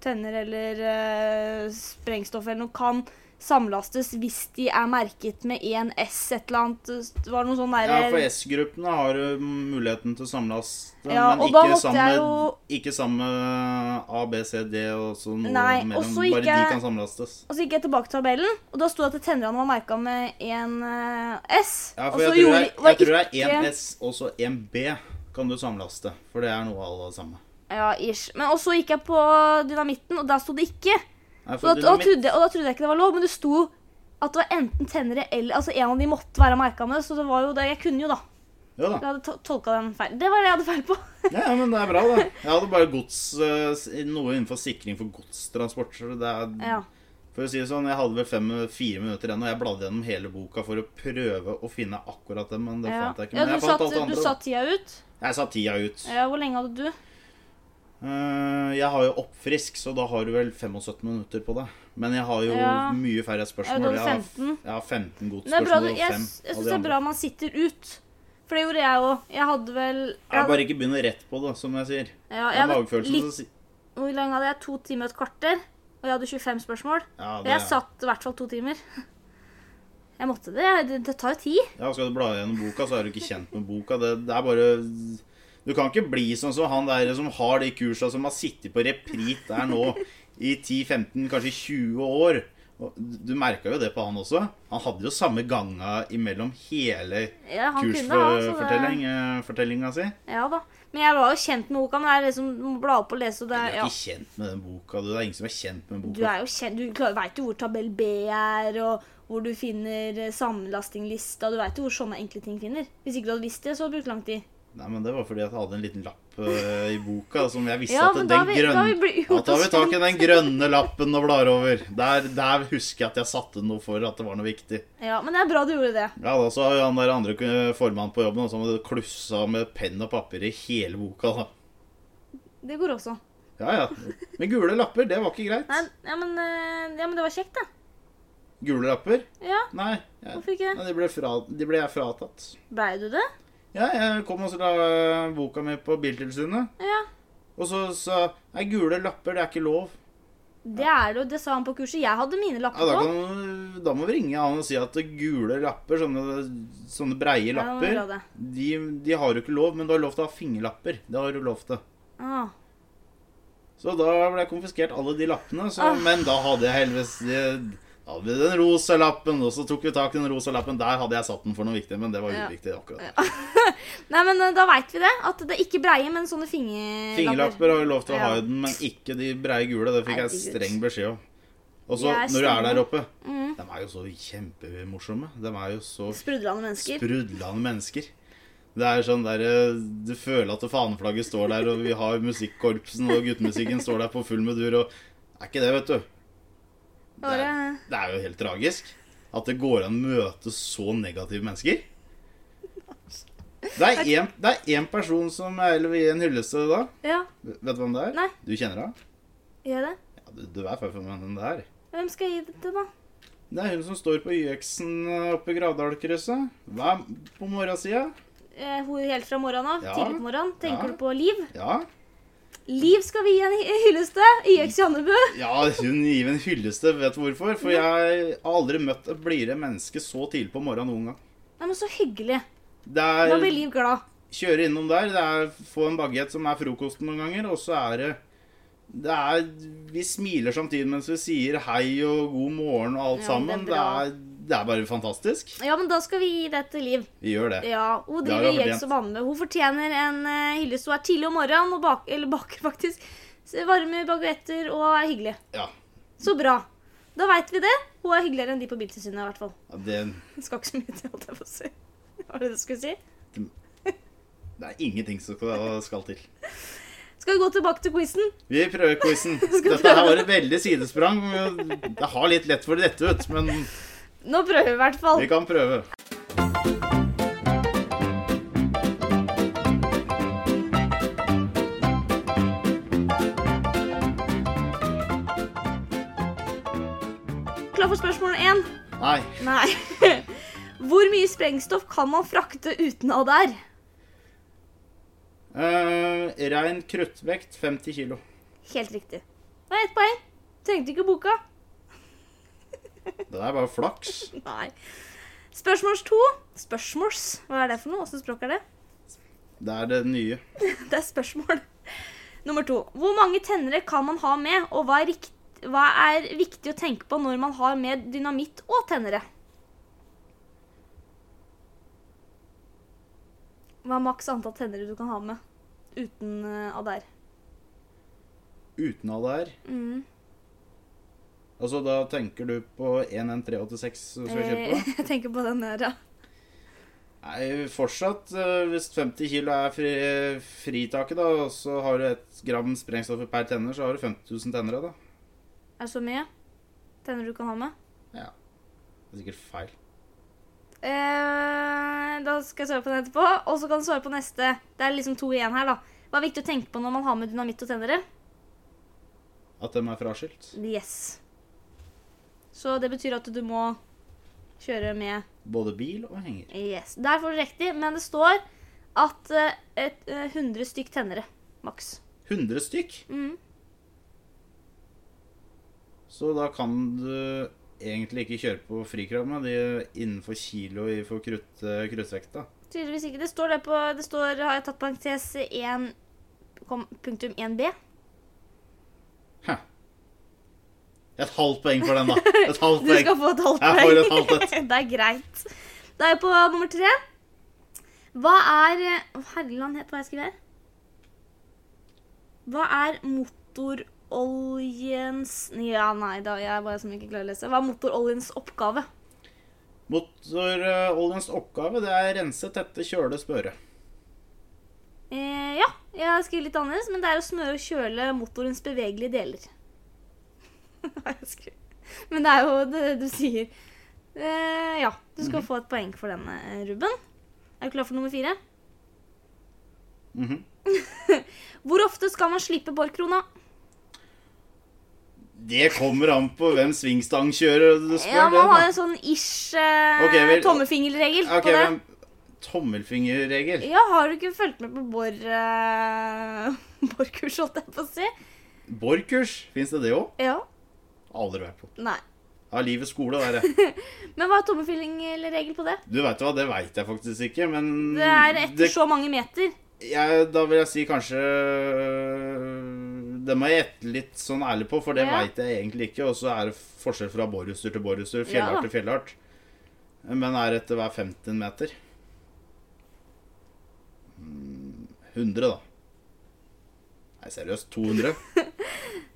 [SPEAKER 1] Tenner eller eh, sprengstoff eller noe kan samlastes hvis de er merket med én S, et eller annet. Det var noe sånn
[SPEAKER 2] Ja, for
[SPEAKER 1] derre
[SPEAKER 2] S-gruppene har du muligheten til å samlaste,
[SPEAKER 1] Ja,
[SPEAKER 2] men
[SPEAKER 1] og da
[SPEAKER 2] ikke
[SPEAKER 1] måtte
[SPEAKER 2] samme,
[SPEAKER 1] jeg jo-
[SPEAKER 2] ikke samme A, B, C, D og så noe
[SPEAKER 1] Nei, og
[SPEAKER 2] mellom.
[SPEAKER 1] så
[SPEAKER 2] Bare de
[SPEAKER 1] ikke-
[SPEAKER 2] kan samlastes.
[SPEAKER 1] Og så gikk jeg tilbake til tabellen, og da sto det at tennene var merka med en eh, S.
[SPEAKER 2] Ja,
[SPEAKER 1] og
[SPEAKER 2] for jeg
[SPEAKER 1] så
[SPEAKER 2] tror, det
[SPEAKER 1] gjorde
[SPEAKER 2] er,
[SPEAKER 1] de- var
[SPEAKER 2] jeg tror det er
[SPEAKER 1] ikke-
[SPEAKER 2] én S og så én B kan du samlaste. For det er noe av det samme.
[SPEAKER 1] Ja, ish. Men, og så gikk jeg på dynamitten, og der sto det ikke.
[SPEAKER 2] Nei,
[SPEAKER 1] Og da,
[SPEAKER 2] for
[SPEAKER 1] og, da
[SPEAKER 2] dynamitt-
[SPEAKER 1] trodde, jeg- og da trodde jeg ikke det var lov, men det sto at det var enten tennere eller Altså en av de måtte være merka med, så det var jo det. Jeg kunne jo, da.
[SPEAKER 2] Jo
[SPEAKER 1] Jeg
[SPEAKER 2] da.
[SPEAKER 1] hadde to- tolka den feil. Det var det jeg hadde feil
[SPEAKER 2] *laughs*
[SPEAKER 1] på.
[SPEAKER 2] Ja, ja, men det er bra, da. Jeg hadde bare gods, eh, s- noe innenfor sikring for godstransport. Så det er,
[SPEAKER 1] ja.
[SPEAKER 2] For å si det sånn, Jeg hadde vel fem, fire minutter igjen, og jeg bladde gjennom hele boka for å prøve å finne akkurat det, men det
[SPEAKER 1] ja.
[SPEAKER 2] fant jeg ikke.
[SPEAKER 1] ja
[SPEAKER 2] Men
[SPEAKER 1] du
[SPEAKER 2] jeg fant
[SPEAKER 1] satt,
[SPEAKER 2] alt det
[SPEAKER 1] du
[SPEAKER 2] andre. da.
[SPEAKER 1] satt tida ut.
[SPEAKER 2] Jeg satt tida ut.
[SPEAKER 1] Ja, Hvor lenge hadde du?
[SPEAKER 2] Eh, Jeg har jo oppfrisk, så da har du vel 75 minutter på deg. Men jeg har jo
[SPEAKER 1] Ja.
[SPEAKER 2] mye færre
[SPEAKER 1] Ja,
[SPEAKER 2] spørsmål.
[SPEAKER 1] du hadde
[SPEAKER 2] Jeg har,
[SPEAKER 1] 15.
[SPEAKER 2] jeg har 15
[SPEAKER 1] Men Det er bra,
[SPEAKER 2] godspørsmål
[SPEAKER 1] du,
[SPEAKER 2] og
[SPEAKER 1] jeg
[SPEAKER 2] fem
[SPEAKER 1] s- jeg
[SPEAKER 2] av
[SPEAKER 1] syns
[SPEAKER 2] de
[SPEAKER 1] det er
[SPEAKER 2] andre.
[SPEAKER 1] bra man sitter ut. For det gjorde jeg òg. Jeg hadde vel
[SPEAKER 2] Jeg bare ikke begynner rett på det, som jeg sier.
[SPEAKER 1] ja,
[SPEAKER 2] Jeg
[SPEAKER 1] jeg
[SPEAKER 2] har
[SPEAKER 1] hadde
[SPEAKER 2] magefølelse,
[SPEAKER 1] litt,
[SPEAKER 2] så si...
[SPEAKER 1] Hvor lenge hadde jeg? To timer og et kvarter? Og jeg hadde 25 spørsmål.
[SPEAKER 2] Ja,
[SPEAKER 1] Og
[SPEAKER 2] det...
[SPEAKER 1] jeg satt i hvert fall to timer. Jeg måtte det. Det, det tar jo tid.
[SPEAKER 2] ja, skal du bla gjennom boka, så er du ikke kjent med boka. Det, det er bare Du kan ikke bli sånn som han der som har de kursa som har sittet på reprit der nå i 10-15, kanskje 20 år. Og Du merka jo det på han også. Han hadde jo samme ganga imellom hele
[SPEAKER 1] Ja, han kunne ha
[SPEAKER 2] eh,
[SPEAKER 1] sånne-
[SPEAKER 2] kursfortellinga si.
[SPEAKER 1] Ja da. Men jeg var jo kjent med Okan. men Det er liksom du må bla opp og lese, og det
[SPEAKER 2] Du
[SPEAKER 1] er
[SPEAKER 2] er
[SPEAKER 1] ja.
[SPEAKER 2] ikke kjent med den boka. Du. Det er ingen som er kjent med
[SPEAKER 1] Du
[SPEAKER 2] boka.
[SPEAKER 1] er jo kjent, du veit jo hvor tabell B er, og hvor du finner eh, sammenlastinglista. Du veit jo hvor sånne enkle ting finner. Hvis ikke du hadde visst det, så hadde du brukt lang tid.
[SPEAKER 2] Nei, men Det var fordi at jeg hadde en liten lapp eh, i boka som jeg visste
[SPEAKER 1] Ja,
[SPEAKER 2] at
[SPEAKER 1] men
[SPEAKER 2] den
[SPEAKER 1] da har vi- da
[SPEAKER 2] grønne
[SPEAKER 1] har vi blitt
[SPEAKER 2] Da
[SPEAKER 1] gjort
[SPEAKER 2] tar vi
[SPEAKER 1] oss
[SPEAKER 2] tak i den grønne lappen og blar over. Der, der husker jeg at jeg satte noe for at det var noe viktig.
[SPEAKER 1] Ja, Men det er bra du gjorde det.
[SPEAKER 2] Ja, da så har jo han der andre eh, formannen på jobben og så hadde klussa med penn og papir i hele boka. da.
[SPEAKER 1] Det går også.
[SPEAKER 2] Ja, ja. Men gule lapper, det var ikke
[SPEAKER 1] Nei,
[SPEAKER 2] greit.
[SPEAKER 1] ja, men, eh, ja, men det var kjekt, da.
[SPEAKER 2] Gule lapper?
[SPEAKER 1] Ja,
[SPEAKER 2] Nei. jeg-
[SPEAKER 1] Hvorfor ikke?
[SPEAKER 2] Nei, de ble, fra, de ble jeg fratatt.
[SPEAKER 1] Blei du det?
[SPEAKER 2] Ja, jeg kom og så la boka mi på Biltilsynet.
[SPEAKER 1] Ja.
[SPEAKER 2] Og så sa Nei, gule lapper, det er ikke lov.
[SPEAKER 1] Det er det, og det sa han på kurset. Jeg hadde mine
[SPEAKER 2] Ja,
[SPEAKER 1] lapper
[SPEAKER 2] da,
[SPEAKER 1] på.
[SPEAKER 2] kan, da må vi ringe han og si at gule lapper, sånne, sånne breie
[SPEAKER 1] Ja, det var
[SPEAKER 2] lapper,
[SPEAKER 1] bra det.
[SPEAKER 2] de, de har du ikke lov, men du har lov til å ha fingerlapper. Det har du lov til.
[SPEAKER 1] Ah.
[SPEAKER 2] Så da ble jeg konfiskert alle de lappene, så,
[SPEAKER 1] Ah.
[SPEAKER 2] men da hadde jeg helvetes de- da hadde vi den rosa lappen, og så tok vi tak i den rosa lappen. Der hadde jeg satt den for noe viktig, men det var
[SPEAKER 1] Ja.
[SPEAKER 2] uviktig akkurat.
[SPEAKER 1] Nei, men eh, da veit vi det. At det er ikke breie, men sånne fingerlapper.
[SPEAKER 2] Fingerlapper har du lov til å ha
[SPEAKER 1] Eh, Ja.
[SPEAKER 2] i den, men ikke de breie gule. Det fikk jeg
[SPEAKER 1] Herregud.
[SPEAKER 2] streng beskjed om. Og så,
[SPEAKER 1] Jeg er
[SPEAKER 2] når du er
[SPEAKER 1] streng.
[SPEAKER 2] der oppe
[SPEAKER 1] Mm.
[SPEAKER 2] De er jo så kjempemorsomme. De er jo så
[SPEAKER 1] Sprudlende mennesker.
[SPEAKER 2] sprudlende mennesker. Det er sånn der, eh, Du føler at faneflagget står der, og vi har musikkorpsen, og guttemusikken står der på full medur, og Er ikke det, vet du.
[SPEAKER 1] Det var, eh,
[SPEAKER 2] Det er jo helt tragisk at det går an å møte så negative mennesker. Det er en- det er én person som jeg heller vil gi en hyllest til da.
[SPEAKER 1] eh, ja,
[SPEAKER 2] Vet du hvem det er?
[SPEAKER 1] Nei.
[SPEAKER 2] Du kjenner henne?
[SPEAKER 1] gjør det.
[SPEAKER 2] Ja, du, du er født hvem det er.
[SPEAKER 1] Hvem skal jeg gi det til, da?
[SPEAKER 2] Det er hun som står på YX-en oppe i Gravdalkrysset. Hver på morgensida.
[SPEAKER 1] Eh, Hun helt fra morgenen av.
[SPEAKER 2] Ja.
[SPEAKER 1] Tidlig på morgenen. Tenker
[SPEAKER 2] Ja.
[SPEAKER 1] du på Liv?
[SPEAKER 2] Ja.
[SPEAKER 1] Liv skal vi gi en hy- hyllest til. YX Jannebu.
[SPEAKER 2] Ja, hun gir en hylleste, vet du hvorfor? For jeg har aldri møtt et blidere menneske så tidlig på morgenen noen gang.
[SPEAKER 1] Nei, men så hyggelig.
[SPEAKER 2] Det
[SPEAKER 1] Da
[SPEAKER 2] er
[SPEAKER 1] blir Liv glad.
[SPEAKER 2] kjøre innom der, det er få en baguett som er frokosten noen ganger, og så er det det er, Vi smiler samtidig mens vi sier hei og god morgen og alt
[SPEAKER 1] Ja, men
[SPEAKER 2] sammen.
[SPEAKER 1] det
[SPEAKER 2] Det
[SPEAKER 1] er bra.
[SPEAKER 2] er, det er bare fantastisk.
[SPEAKER 1] Ja, men da skal vi gi det til Liv.
[SPEAKER 2] Vi gjør det.
[SPEAKER 1] Ja, hun
[SPEAKER 2] Det har
[SPEAKER 1] driver
[SPEAKER 2] hun
[SPEAKER 1] Jeks
[SPEAKER 2] fortjent.
[SPEAKER 1] og Bambe. Hun fortjener en eh, hyllest. Hun er tidlig om morgenen og bak, eller baker *laughs* faktisk s- varme baguetter og er hyggelig.
[SPEAKER 2] Ja.
[SPEAKER 1] Så bra. Da veit vi det. Hun er hyggeligere enn de på Biltilsynet, i hvert fall. *laughs*
[SPEAKER 2] ja det,
[SPEAKER 1] Hun skal ikke så mye til, holdt jeg på å si. *laughs* Var det det du skulle si?
[SPEAKER 2] det er ingenting som skal- skal til.
[SPEAKER 1] Skal vi gå tilbake til quizen?
[SPEAKER 2] Vi prøver quizen.
[SPEAKER 1] *laughs* Skal
[SPEAKER 2] Dette her var et veldig sidesprang. Jeg har litt lett for dette, vet du, men
[SPEAKER 1] Nå prøver vi i hvert fall.
[SPEAKER 2] vi kan prøve.
[SPEAKER 1] Klar for spørsmål én?
[SPEAKER 2] Nei.
[SPEAKER 1] Nei. *laughs* Hvor mye sprengstoff kan man frakte uten av der?
[SPEAKER 2] Uh, Rein kruttvekt 50 kilo.
[SPEAKER 1] Helt riktig. Det er ett poeng. Trengte ikke boka.
[SPEAKER 2] Det der var jo flaks.
[SPEAKER 1] Nei. Spørsmåls to. Spørsmåls? Hva er det for noe? Åssen språk er det?
[SPEAKER 2] Det er det nye.
[SPEAKER 1] Det er spørsmål. Nummer to. Hvor mange tennere kan man ha med, og hva er, rikt hva er viktig å tenke på når man har med dynamitt og tennere? Hva er maks antall tennere du kan ha med uten uh, Adair?
[SPEAKER 2] Uten av det her.
[SPEAKER 1] Mm.
[SPEAKER 2] Altså, da tenker du på 11386 som skal kjøpe?
[SPEAKER 1] Eh, *laughs* Jeg tenker på den der, ja.
[SPEAKER 2] Nei, fortsatt. eh, Hvis 50 kilo er fri, fritaket, da, og så har du et gram sprengstoff per tenner, så har du 50 000 tennere, da.
[SPEAKER 1] Er det så mye tenner du kan ha med?
[SPEAKER 2] Det er sikkert feil.
[SPEAKER 1] Eh, da skal jeg svare på den etterpå, og så kan du svare på neste. Det er liksom to igjen her, da. Hva er viktig å tenke på når man har med dynamitt og tennere?
[SPEAKER 2] At de er fraskilt.
[SPEAKER 1] Yes. Så det betyr at du må kjøre med
[SPEAKER 2] Både bil og henger.
[SPEAKER 1] yes. Der får du riktig, men det står at eh, et, eh, 100 stykk tennere, maks.
[SPEAKER 2] 100 stykk.
[SPEAKER 1] Mm.
[SPEAKER 2] Så da kan du egentlig ikke kjøre på frikramma. De er innenfor kilo i- for krutt, eh, kruttvekta.
[SPEAKER 1] Tydeligvis ikke. Det står det på Det står, har jeg tatt parentes 1, kom- punktum 1b.
[SPEAKER 2] Hæ. Et halvt poeng for den, da.
[SPEAKER 1] *laughs*
[SPEAKER 2] Et halvt
[SPEAKER 1] Du skal
[SPEAKER 2] poeng.
[SPEAKER 1] få et halvt
[SPEAKER 2] Jeg
[SPEAKER 1] poeng. *laughs*
[SPEAKER 2] får et halvt et.
[SPEAKER 1] det er greit. Da er vi på nummer tre. Hva er Å, Herreland het hva jeg skrev her. Hva er motoroljens Ja, nei, da jeg er bare som ikke klarer å lese. Hva er motoroljens oppgave?
[SPEAKER 2] Motoroljens oppgave det er rense, tette, kjøle, spørre.
[SPEAKER 1] Eh, ja, jeg har skrevet litt annerledes, men det er å smøre og kjøle motorens bevegelige deler. *laughs* Hva har jeg skrevet? men det er jo det du sier. Eh, ja, du skal få et poeng for denne, eh, Ruben. Er du klar for nummer fire?
[SPEAKER 2] Mhm.
[SPEAKER 1] Hvor ofte skal man slippe borkrona?
[SPEAKER 2] Det kommer an på hvem svingstangkjører du spør.
[SPEAKER 1] Ja, man har
[SPEAKER 2] det,
[SPEAKER 1] en sånn ish eh,
[SPEAKER 2] Ok, vel-
[SPEAKER 1] tommefingerregel
[SPEAKER 2] da. Ok,
[SPEAKER 1] på det.
[SPEAKER 2] men Tommelfingerregel.
[SPEAKER 1] Ja, har du ikke fulgt med på bor, eh, *laughs* borkurs, holdt jeg på å si?
[SPEAKER 2] Borkurs, fins det det òg?
[SPEAKER 1] Ja.
[SPEAKER 2] Aldri vært på.
[SPEAKER 1] Nei.
[SPEAKER 2] Har livets skole, det er det.
[SPEAKER 1] Men hva er tommefingerregel på det?
[SPEAKER 2] Du vet hva, det veit jeg faktisk ikke, men
[SPEAKER 1] Det
[SPEAKER 2] Mm,
[SPEAKER 1] er etter så mange meter.
[SPEAKER 2] jeg, Da vil jeg si kanskje øh, Det må jeg gjette litt sånn ærlig på, for det
[SPEAKER 1] Ja.
[SPEAKER 2] vet veit jeg egentlig ikke. Og så er det forskjell fra borrhuster til borrhuster,
[SPEAKER 1] Ja
[SPEAKER 2] fjellart
[SPEAKER 1] da.
[SPEAKER 2] til fjellart. Men er etter hver 15 meter? Mm, 100, da. Nei, seriøst. 200?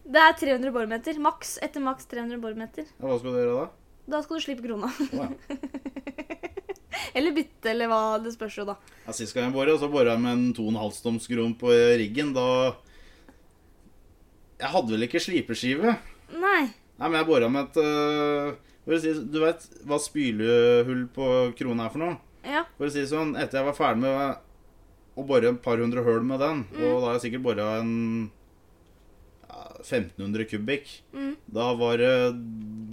[SPEAKER 1] Det er 300 bormeter. Maks etter maks 300 bormeter.
[SPEAKER 2] Ja, Hva skal du gjøre da?
[SPEAKER 1] Da skal du slippe krona. *laughs*
[SPEAKER 2] Å, ja.
[SPEAKER 1] Eller bytte, eller hva det spørs jo, da.
[SPEAKER 2] Ja, Sist gang jeg bora, så bora jeg med en 2,5-toms kron på riggen. Da Jeg hadde vel ikke slipeskive.
[SPEAKER 1] Nei.
[SPEAKER 2] Nei, men jeg bora med et øh, for å si, Du veit hva spylehull på krona er for noe?
[SPEAKER 1] Ja.
[SPEAKER 2] For å si det sånn, etter jeg var ferdig med å bore et par hundre hull med den, og da har jeg sikkert bora en ja, 1500 kubikk,
[SPEAKER 1] Mm.
[SPEAKER 2] da var, det,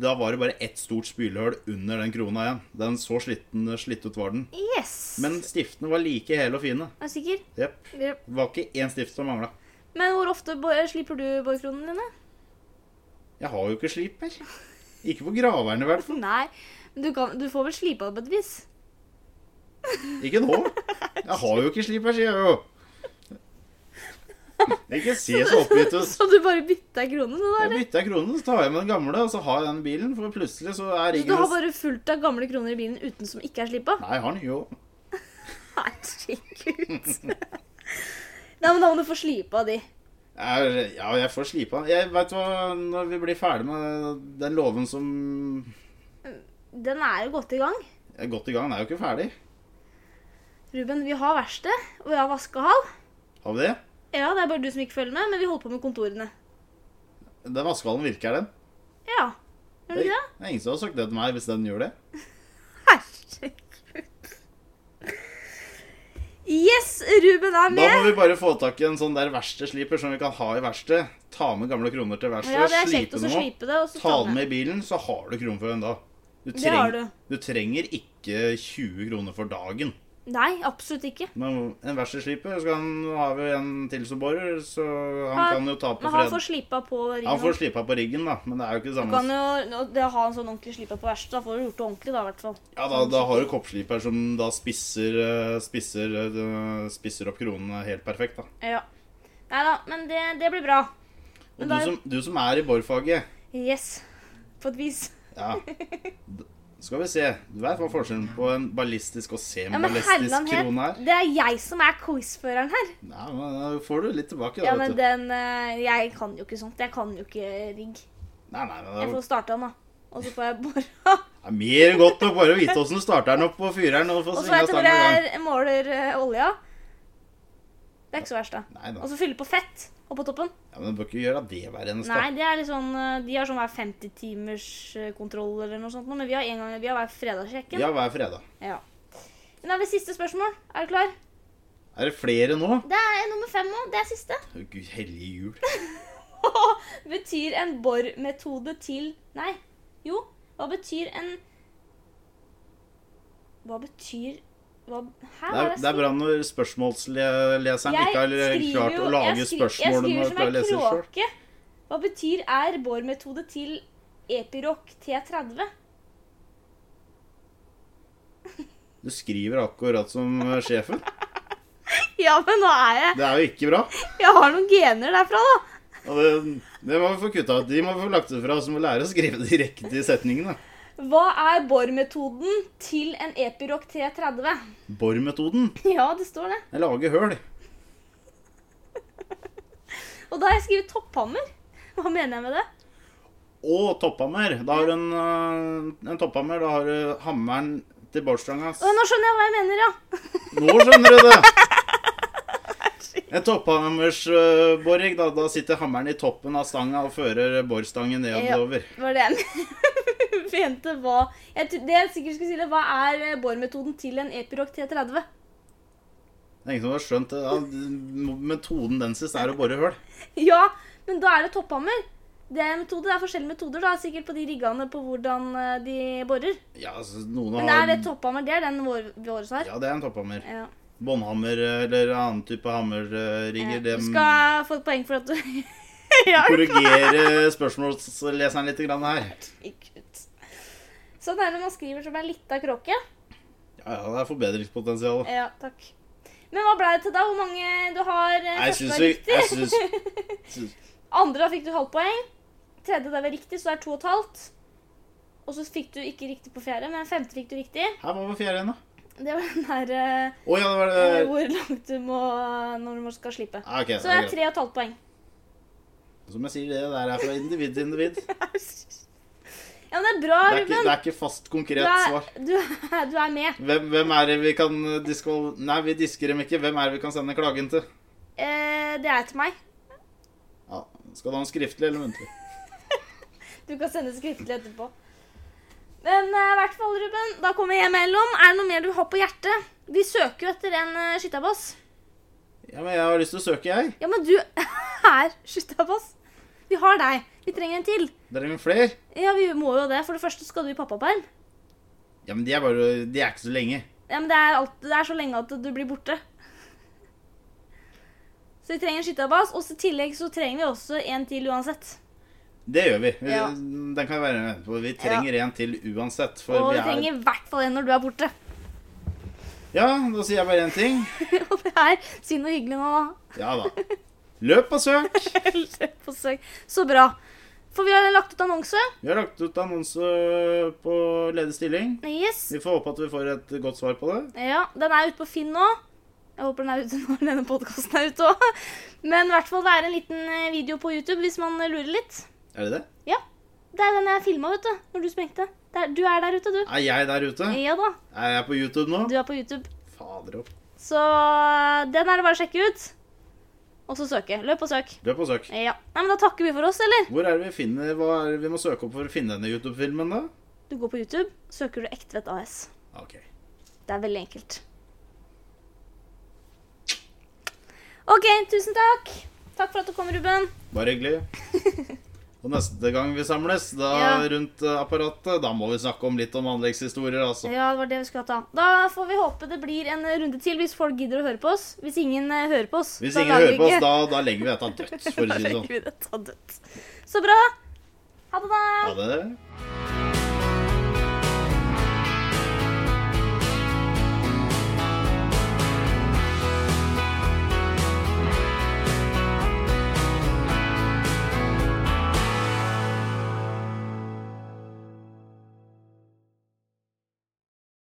[SPEAKER 2] da var det bare ett stort spylehull under den krona igjen. Den så slitten, slitt ut var den.
[SPEAKER 1] Yes.
[SPEAKER 2] Men stiftene var like hele og fine.
[SPEAKER 1] Er du sikker?
[SPEAKER 2] Jepp.
[SPEAKER 1] Yep.
[SPEAKER 2] Det var ikke én stift som mangla.
[SPEAKER 1] Men hvor ofte bo- eh, slipper du borkronene dine?
[SPEAKER 2] Jeg har jo ikke slip her. Ikke på graverne, i hvert fall.
[SPEAKER 1] *laughs* Nei. Men Du, kan, du får vel slipa det på et vis?
[SPEAKER 2] Ikke nå. Jeg har jo ikke slip her, sier jeg jo. Ikke se så oppgitt ut.
[SPEAKER 1] *laughs* Så du bare bytta krone nå, da?
[SPEAKER 2] Jeg
[SPEAKER 1] eller?
[SPEAKER 2] bytter jeg kronen, så tar jeg med den gamle, og så har jeg den bilen. For plutselig
[SPEAKER 1] Så
[SPEAKER 2] så er
[SPEAKER 1] du har
[SPEAKER 2] riggen
[SPEAKER 1] bare fullt av gamle kroner i bilen uten som ikke er slipa?
[SPEAKER 2] Nei, jeg har den jo.
[SPEAKER 1] *laughs* Herregud. Nei, men da må du få slipa de.
[SPEAKER 2] Er, ja, jeg får slipa. Jeg vet hva, Når vi blir ferdig med den låven som
[SPEAKER 1] Den er jo godt i gang.
[SPEAKER 2] er godt i gang, den er jo ikke ferdig.
[SPEAKER 1] Ruben, vi har verksted, og jeg har vaskehall.
[SPEAKER 2] Har vi det?
[SPEAKER 1] Ja, det er bare du som ikke følger med, men vi holder på med kontorene.
[SPEAKER 2] Den vaskehallen virker, den.
[SPEAKER 1] Ja. Gjør du ikke det?
[SPEAKER 2] Det er ingen som har sagt det til meg hvis den gjør det.
[SPEAKER 1] Herregud. Yes, Ruben er
[SPEAKER 2] Da må
[SPEAKER 1] med.
[SPEAKER 2] vi bare få tak i en sånn der verkstedsliper som vi kan ha i verkstedet. Ta med gamle kroner til verkstedet,
[SPEAKER 1] Ja, det er kjekt
[SPEAKER 2] slipe
[SPEAKER 1] å så
[SPEAKER 2] dem opp.
[SPEAKER 1] slipe det, og så
[SPEAKER 2] Ta
[SPEAKER 1] ta
[SPEAKER 2] den
[SPEAKER 1] det.
[SPEAKER 2] med i bilen, så har du kroner for en dag. Du,
[SPEAKER 1] Det har
[SPEAKER 2] treng, du trenger ikke 20 kroner for dagen.
[SPEAKER 1] Nei, absolutt ikke.
[SPEAKER 2] Men en verkstedsliper, så kan, har vi en til som borer, så han
[SPEAKER 1] Ja,
[SPEAKER 2] kan jo ta på
[SPEAKER 1] Men han
[SPEAKER 2] fred.
[SPEAKER 1] får slipa på ringen.
[SPEAKER 2] Han får slipa på riggen, da, men det er jo ikke det
[SPEAKER 1] Du
[SPEAKER 2] samme.
[SPEAKER 1] kan jo nå- det å ha en sånn ordentlig slipa på verkstedet. Da får du gjort det ordentlig, da, i hvert fall.
[SPEAKER 2] Ja, da, da har du koppsliper som da spisser, eh, spisser, eh, spisser opp kronene helt perfekt, da.
[SPEAKER 1] Ja. Nei da, men det, det blir bra.
[SPEAKER 2] Og
[SPEAKER 1] Men
[SPEAKER 2] du
[SPEAKER 1] da-
[SPEAKER 2] som, du som er i borfaget,
[SPEAKER 1] Yes. På et vis. *laughs*
[SPEAKER 2] Ja. D- Skal vi se. Du vet hva forskjellen på en ballistisk og
[SPEAKER 1] Ja, men
[SPEAKER 2] semiballistisk
[SPEAKER 1] Herland
[SPEAKER 2] krone
[SPEAKER 1] het
[SPEAKER 2] er?
[SPEAKER 1] Det er jeg som er quizføreren her.
[SPEAKER 2] Nei, men Da får du litt tilbake, da.
[SPEAKER 1] Ja,
[SPEAKER 2] vet
[SPEAKER 1] men
[SPEAKER 2] du.
[SPEAKER 1] den eh, Jeg kan jo ikke sånt. Jeg kan jo ikke rigg.
[SPEAKER 2] Nei, nei, nei,
[SPEAKER 1] Jeg
[SPEAKER 2] det
[SPEAKER 1] får starta den, da. Og så får jeg
[SPEAKER 2] *laughs*
[SPEAKER 1] bora.
[SPEAKER 2] er mer godt nok bare å vite åssen du starter den opp på fyreren. Og få
[SPEAKER 1] Og så
[SPEAKER 2] svinge
[SPEAKER 1] vet jeg
[SPEAKER 2] og stang
[SPEAKER 1] hvor
[SPEAKER 2] i gang.
[SPEAKER 1] jeg måler eh, olja. Det er ikke så verst, da.
[SPEAKER 2] Nei
[SPEAKER 1] Og
[SPEAKER 2] da.
[SPEAKER 1] så fylle på fett oppå toppen.
[SPEAKER 2] Ja, men du bør ikke gjøre det hver eneste
[SPEAKER 1] Nei,
[SPEAKER 2] dag.
[SPEAKER 1] det er litt sånn, eh, de har sånn hver 50 timers eh, kontroll eller noe sånt, nå, men vi har, en gang, vi har hver fredagssjekken.
[SPEAKER 2] Ja, hver fredag.
[SPEAKER 1] Ja. Men da er det siste spørsmål. Er du klar?
[SPEAKER 2] Er det flere nå?
[SPEAKER 1] Det er nummer fem òg. Det er siste.
[SPEAKER 2] Å, Gud, hellige jul.
[SPEAKER 1] *laughs* betyr en bormetode til Nei, jo. Hva betyr en Hva betyr hva, Hæ?
[SPEAKER 2] Det er, det er bra når spørsmålsleseren ikke har klart å lage
[SPEAKER 1] sånn, jeg skri-
[SPEAKER 2] spørsmål når
[SPEAKER 1] Jeg
[SPEAKER 2] man klarer å
[SPEAKER 1] skriver
[SPEAKER 2] lese
[SPEAKER 1] som ei
[SPEAKER 2] selv.
[SPEAKER 1] kråke. Hva betyr er bormetode til Epiroc T30?
[SPEAKER 2] Du skriver akkurat som eh, sjefen.
[SPEAKER 1] Ja, men nå er jeg
[SPEAKER 2] Det er jo ikke bra.
[SPEAKER 1] Jeg har noen gener derfra, da.
[SPEAKER 2] Og det, det må vi få kutta ut. De må vi få lagt ut fra, så må vi lære å skrive de riktige setningene.
[SPEAKER 1] Hva er bormetoden til en Epiroc T30?
[SPEAKER 2] Bormetoden.
[SPEAKER 1] *laughs* Ja, det står det.
[SPEAKER 2] Jeg lager høl.
[SPEAKER 1] Og da har jeg skrevet topphammer. Hva mener jeg med det?
[SPEAKER 2] Og topphammer. Da har du en, øh, en topphammer. Da har du hammeren til borststanga.
[SPEAKER 1] Å, nå skjønner jeg hva jeg mener, ja.
[SPEAKER 2] Nå skjønner du
[SPEAKER 1] *laughs*
[SPEAKER 2] det! En topphammersboring. Da, da sitter hammeren i toppen av stanga og fører borstangen nedover.
[SPEAKER 1] Det *laughs* var det jeg *laughs* mente. Hva jeg, tro- Det jeg sikkert skulle si, det, hva er eh, bormetoden til en Epiroc T30?
[SPEAKER 2] Det er ingen som har skjønt det. Ja, metoden den sist er å bore høl.
[SPEAKER 1] *laughs* Ja, men da er det topphammer. Det er, en metode, det er forskjellige metoder, da, sikkert på de riggene på hvordan eh, de borer.
[SPEAKER 2] Ja, altså, noen
[SPEAKER 1] Men
[SPEAKER 2] har
[SPEAKER 1] er det topphammer? Det er den vår, vår har.
[SPEAKER 2] Ja, det er en topphammer.
[SPEAKER 1] Ja.
[SPEAKER 2] Båndhammer eh, eller annen type hammerrigger.
[SPEAKER 1] Du
[SPEAKER 2] det-
[SPEAKER 1] skal få et poeng for at du *laughs* ja,
[SPEAKER 2] korrigere spørsmålsleseren litt grann her.
[SPEAKER 1] Herregud. Sånn er det når man skriver som en lita kråke.
[SPEAKER 2] Ja, ja, det er forbedringspotensial.
[SPEAKER 1] Ja, takk. Men hva ble det til da? Hvor mange du har? eh,
[SPEAKER 2] Jeg
[SPEAKER 1] første
[SPEAKER 2] syns
[SPEAKER 1] var
[SPEAKER 2] vi
[SPEAKER 1] riktig?
[SPEAKER 2] jeg syns, syns-
[SPEAKER 1] Andre da fikk du halvt poeng. Tredje der var riktig, så det er to og et halvt. Og så fikk du ikke riktig på fjerde, men femte fikk du riktig.
[SPEAKER 2] Her var vi fjerde igjen, da.
[SPEAKER 1] Det var den der
[SPEAKER 2] Å ja, det var det
[SPEAKER 1] eh,
[SPEAKER 2] der.
[SPEAKER 1] hvor langt du må når du må- skal slippe.
[SPEAKER 2] Ah, ok,
[SPEAKER 1] Så det er
[SPEAKER 2] greit.
[SPEAKER 1] tre og et halvt poeng. *laughs*
[SPEAKER 2] Som jeg sier, det der er fra individ
[SPEAKER 1] *laughs*
[SPEAKER 2] til individ. Det
[SPEAKER 1] Ja, men det er bra,
[SPEAKER 2] er ikke, det
[SPEAKER 1] Ruben.
[SPEAKER 2] er ikke fast, konkret
[SPEAKER 1] Du
[SPEAKER 2] svar.
[SPEAKER 1] er, du, er, du er med.
[SPEAKER 2] Hvem, hvem er det vi kan diskval... Nei, vi disker dem ikke. Hvem er det vi kan sende klagen til?
[SPEAKER 1] Eh, det er til meg.
[SPEAKER 2] Ja, Skal du ha den skriftlig eller muntlig?
[SPEAKER 1] Du kan sende skriftlig etterpå. Men eh, i hvert fall, Ruben, da kommer jeg mellom. Er det noe mer du har på hjertet? Vi søker jo etter en uh, skytterboss.
[SPEAKER 2] Ja, men Jeg har lyst til å søke, jeg.
[SPEAKER 1] Ja, men du *laughs* er skytterboss. Vi har deg. Vi trenger en til.
[SPEAKER 2] Dere vil flere?
[SPEAKER 1] Ja, vi må jo det. For det første skal du i pappaperm.
[SPEAKER 2] Ja, men de er bare De er ikke så lenge.
[SPEAKER 1] Ja, men det er, alt, det er så lenge at du blir borte. Så vi trenger en skytterboss, og så i tillegg så trenger vi også en til uansett.
[SPEAKER 2] Det gjør vi. Vi-
[SPEAKER 1] Ja.
[SPEAKER 2] Den kan vi være med på. Vi trenger en til uansett. For
[SPEAKER 1] Og
[SPEAKER 2] vi
[SPEAKER 1] vi
[SPEAKER 2] er
[SPEAKER 1] trenger i hvert fall en når du er borte. *laughs*
[SPEAKER 2] Ja, da sier jeg bare én ting.
[SPEAKER 1] og det er synd og hyggelig nå, da.
[SPEAKER 2] Ja da. Løp og søk.
[SPEAKER 1] På søk. Så bra. For vi har lagt ut annonse.
[SPEAKER 2] Vi har lagt ut annonse på ledig stilling.
[SPEAKER 1] Yes.
[SPEAKER 2] Vi får håpe at vi får et godt svar på det.
[SPEAKER 1] Ja, den er ute på Finn nå. *laughs* Jeg håper den er ute når denne podkasten er ute òg. Men i hvert fall, det er en liten eh, video på YouTube hvis man eh, lurer litt.
[SPEAKER 2] Er det det?
[SPEAKER 1] Ja. Det er den jeg filma, vet du. Når du sprengte. Der, du er der ute, du.
[SPEAKER 2] Er jeg der ute?
[SPEAKER 1] Ja da.
[SPEAKER 2] Er jeg på YouTube nå?
[SPEAKER 1] Du er på YouTube.
[SPEAKER 2] Fader opp.
[SPEAKER 1] Så eh, den er det bare å sjekke ut. Og så søke. Løp og søk.
[SPEAKER 2] Du er på søk.
[SPEAKER 1] Ja. Nei, men da takker vi for oss, eller?
[SPEAKER 2] Hvor er det vi finner Hva er det vi må søke opp for å finne denne YouTube-filmen, da?
[SPEAKER 1] Du går på YouTube, søker du Ektvedt AS.
[SPEAKER 2] OK.
[SPEAKER 1] Det er veldig enkelt. OK, tusen takk. Takk for at du kom, Ruben.
[SPEAKER 2] Bare hyggelig.
[SPEAKER 1] *laughs*
[SPEAKER 2] Og neste gang vi samles, da
[SPEAKER 1] Ja.
[SPEAKER 2] rundt eh, apparatet, da må vi snakke om litt om anleggshistorier, altså.
[SPEAKER 1] Ja, det var det vi skulle ta. Da får vi håpe det blir en runde til hvis folk gidder å høre på oss. Hvis ingen eh, hører på oss,
[SPEAKER 2] Hvis
[SPEAKER 1] da
[SPEAKER 2] ingen
[SPEAKER 1] lager vi
[SPEAKER 2] hører på oss,
[SPEAKER 1] ikke-
[SPEAKER 2] da, da legger vi dette dødt, for
[SPEAKER 1] *laughs*
[SPEAKER 2] å
[SPEAKER 1] Da
[SPEAKER 2] si det
[SPEAKER 1] legger
[SPEAKER 2] sånn.
[SPEAKER 1] vi det ta dødt. Så bra. Ha det, da.
[SPEAKER 2] Ha det.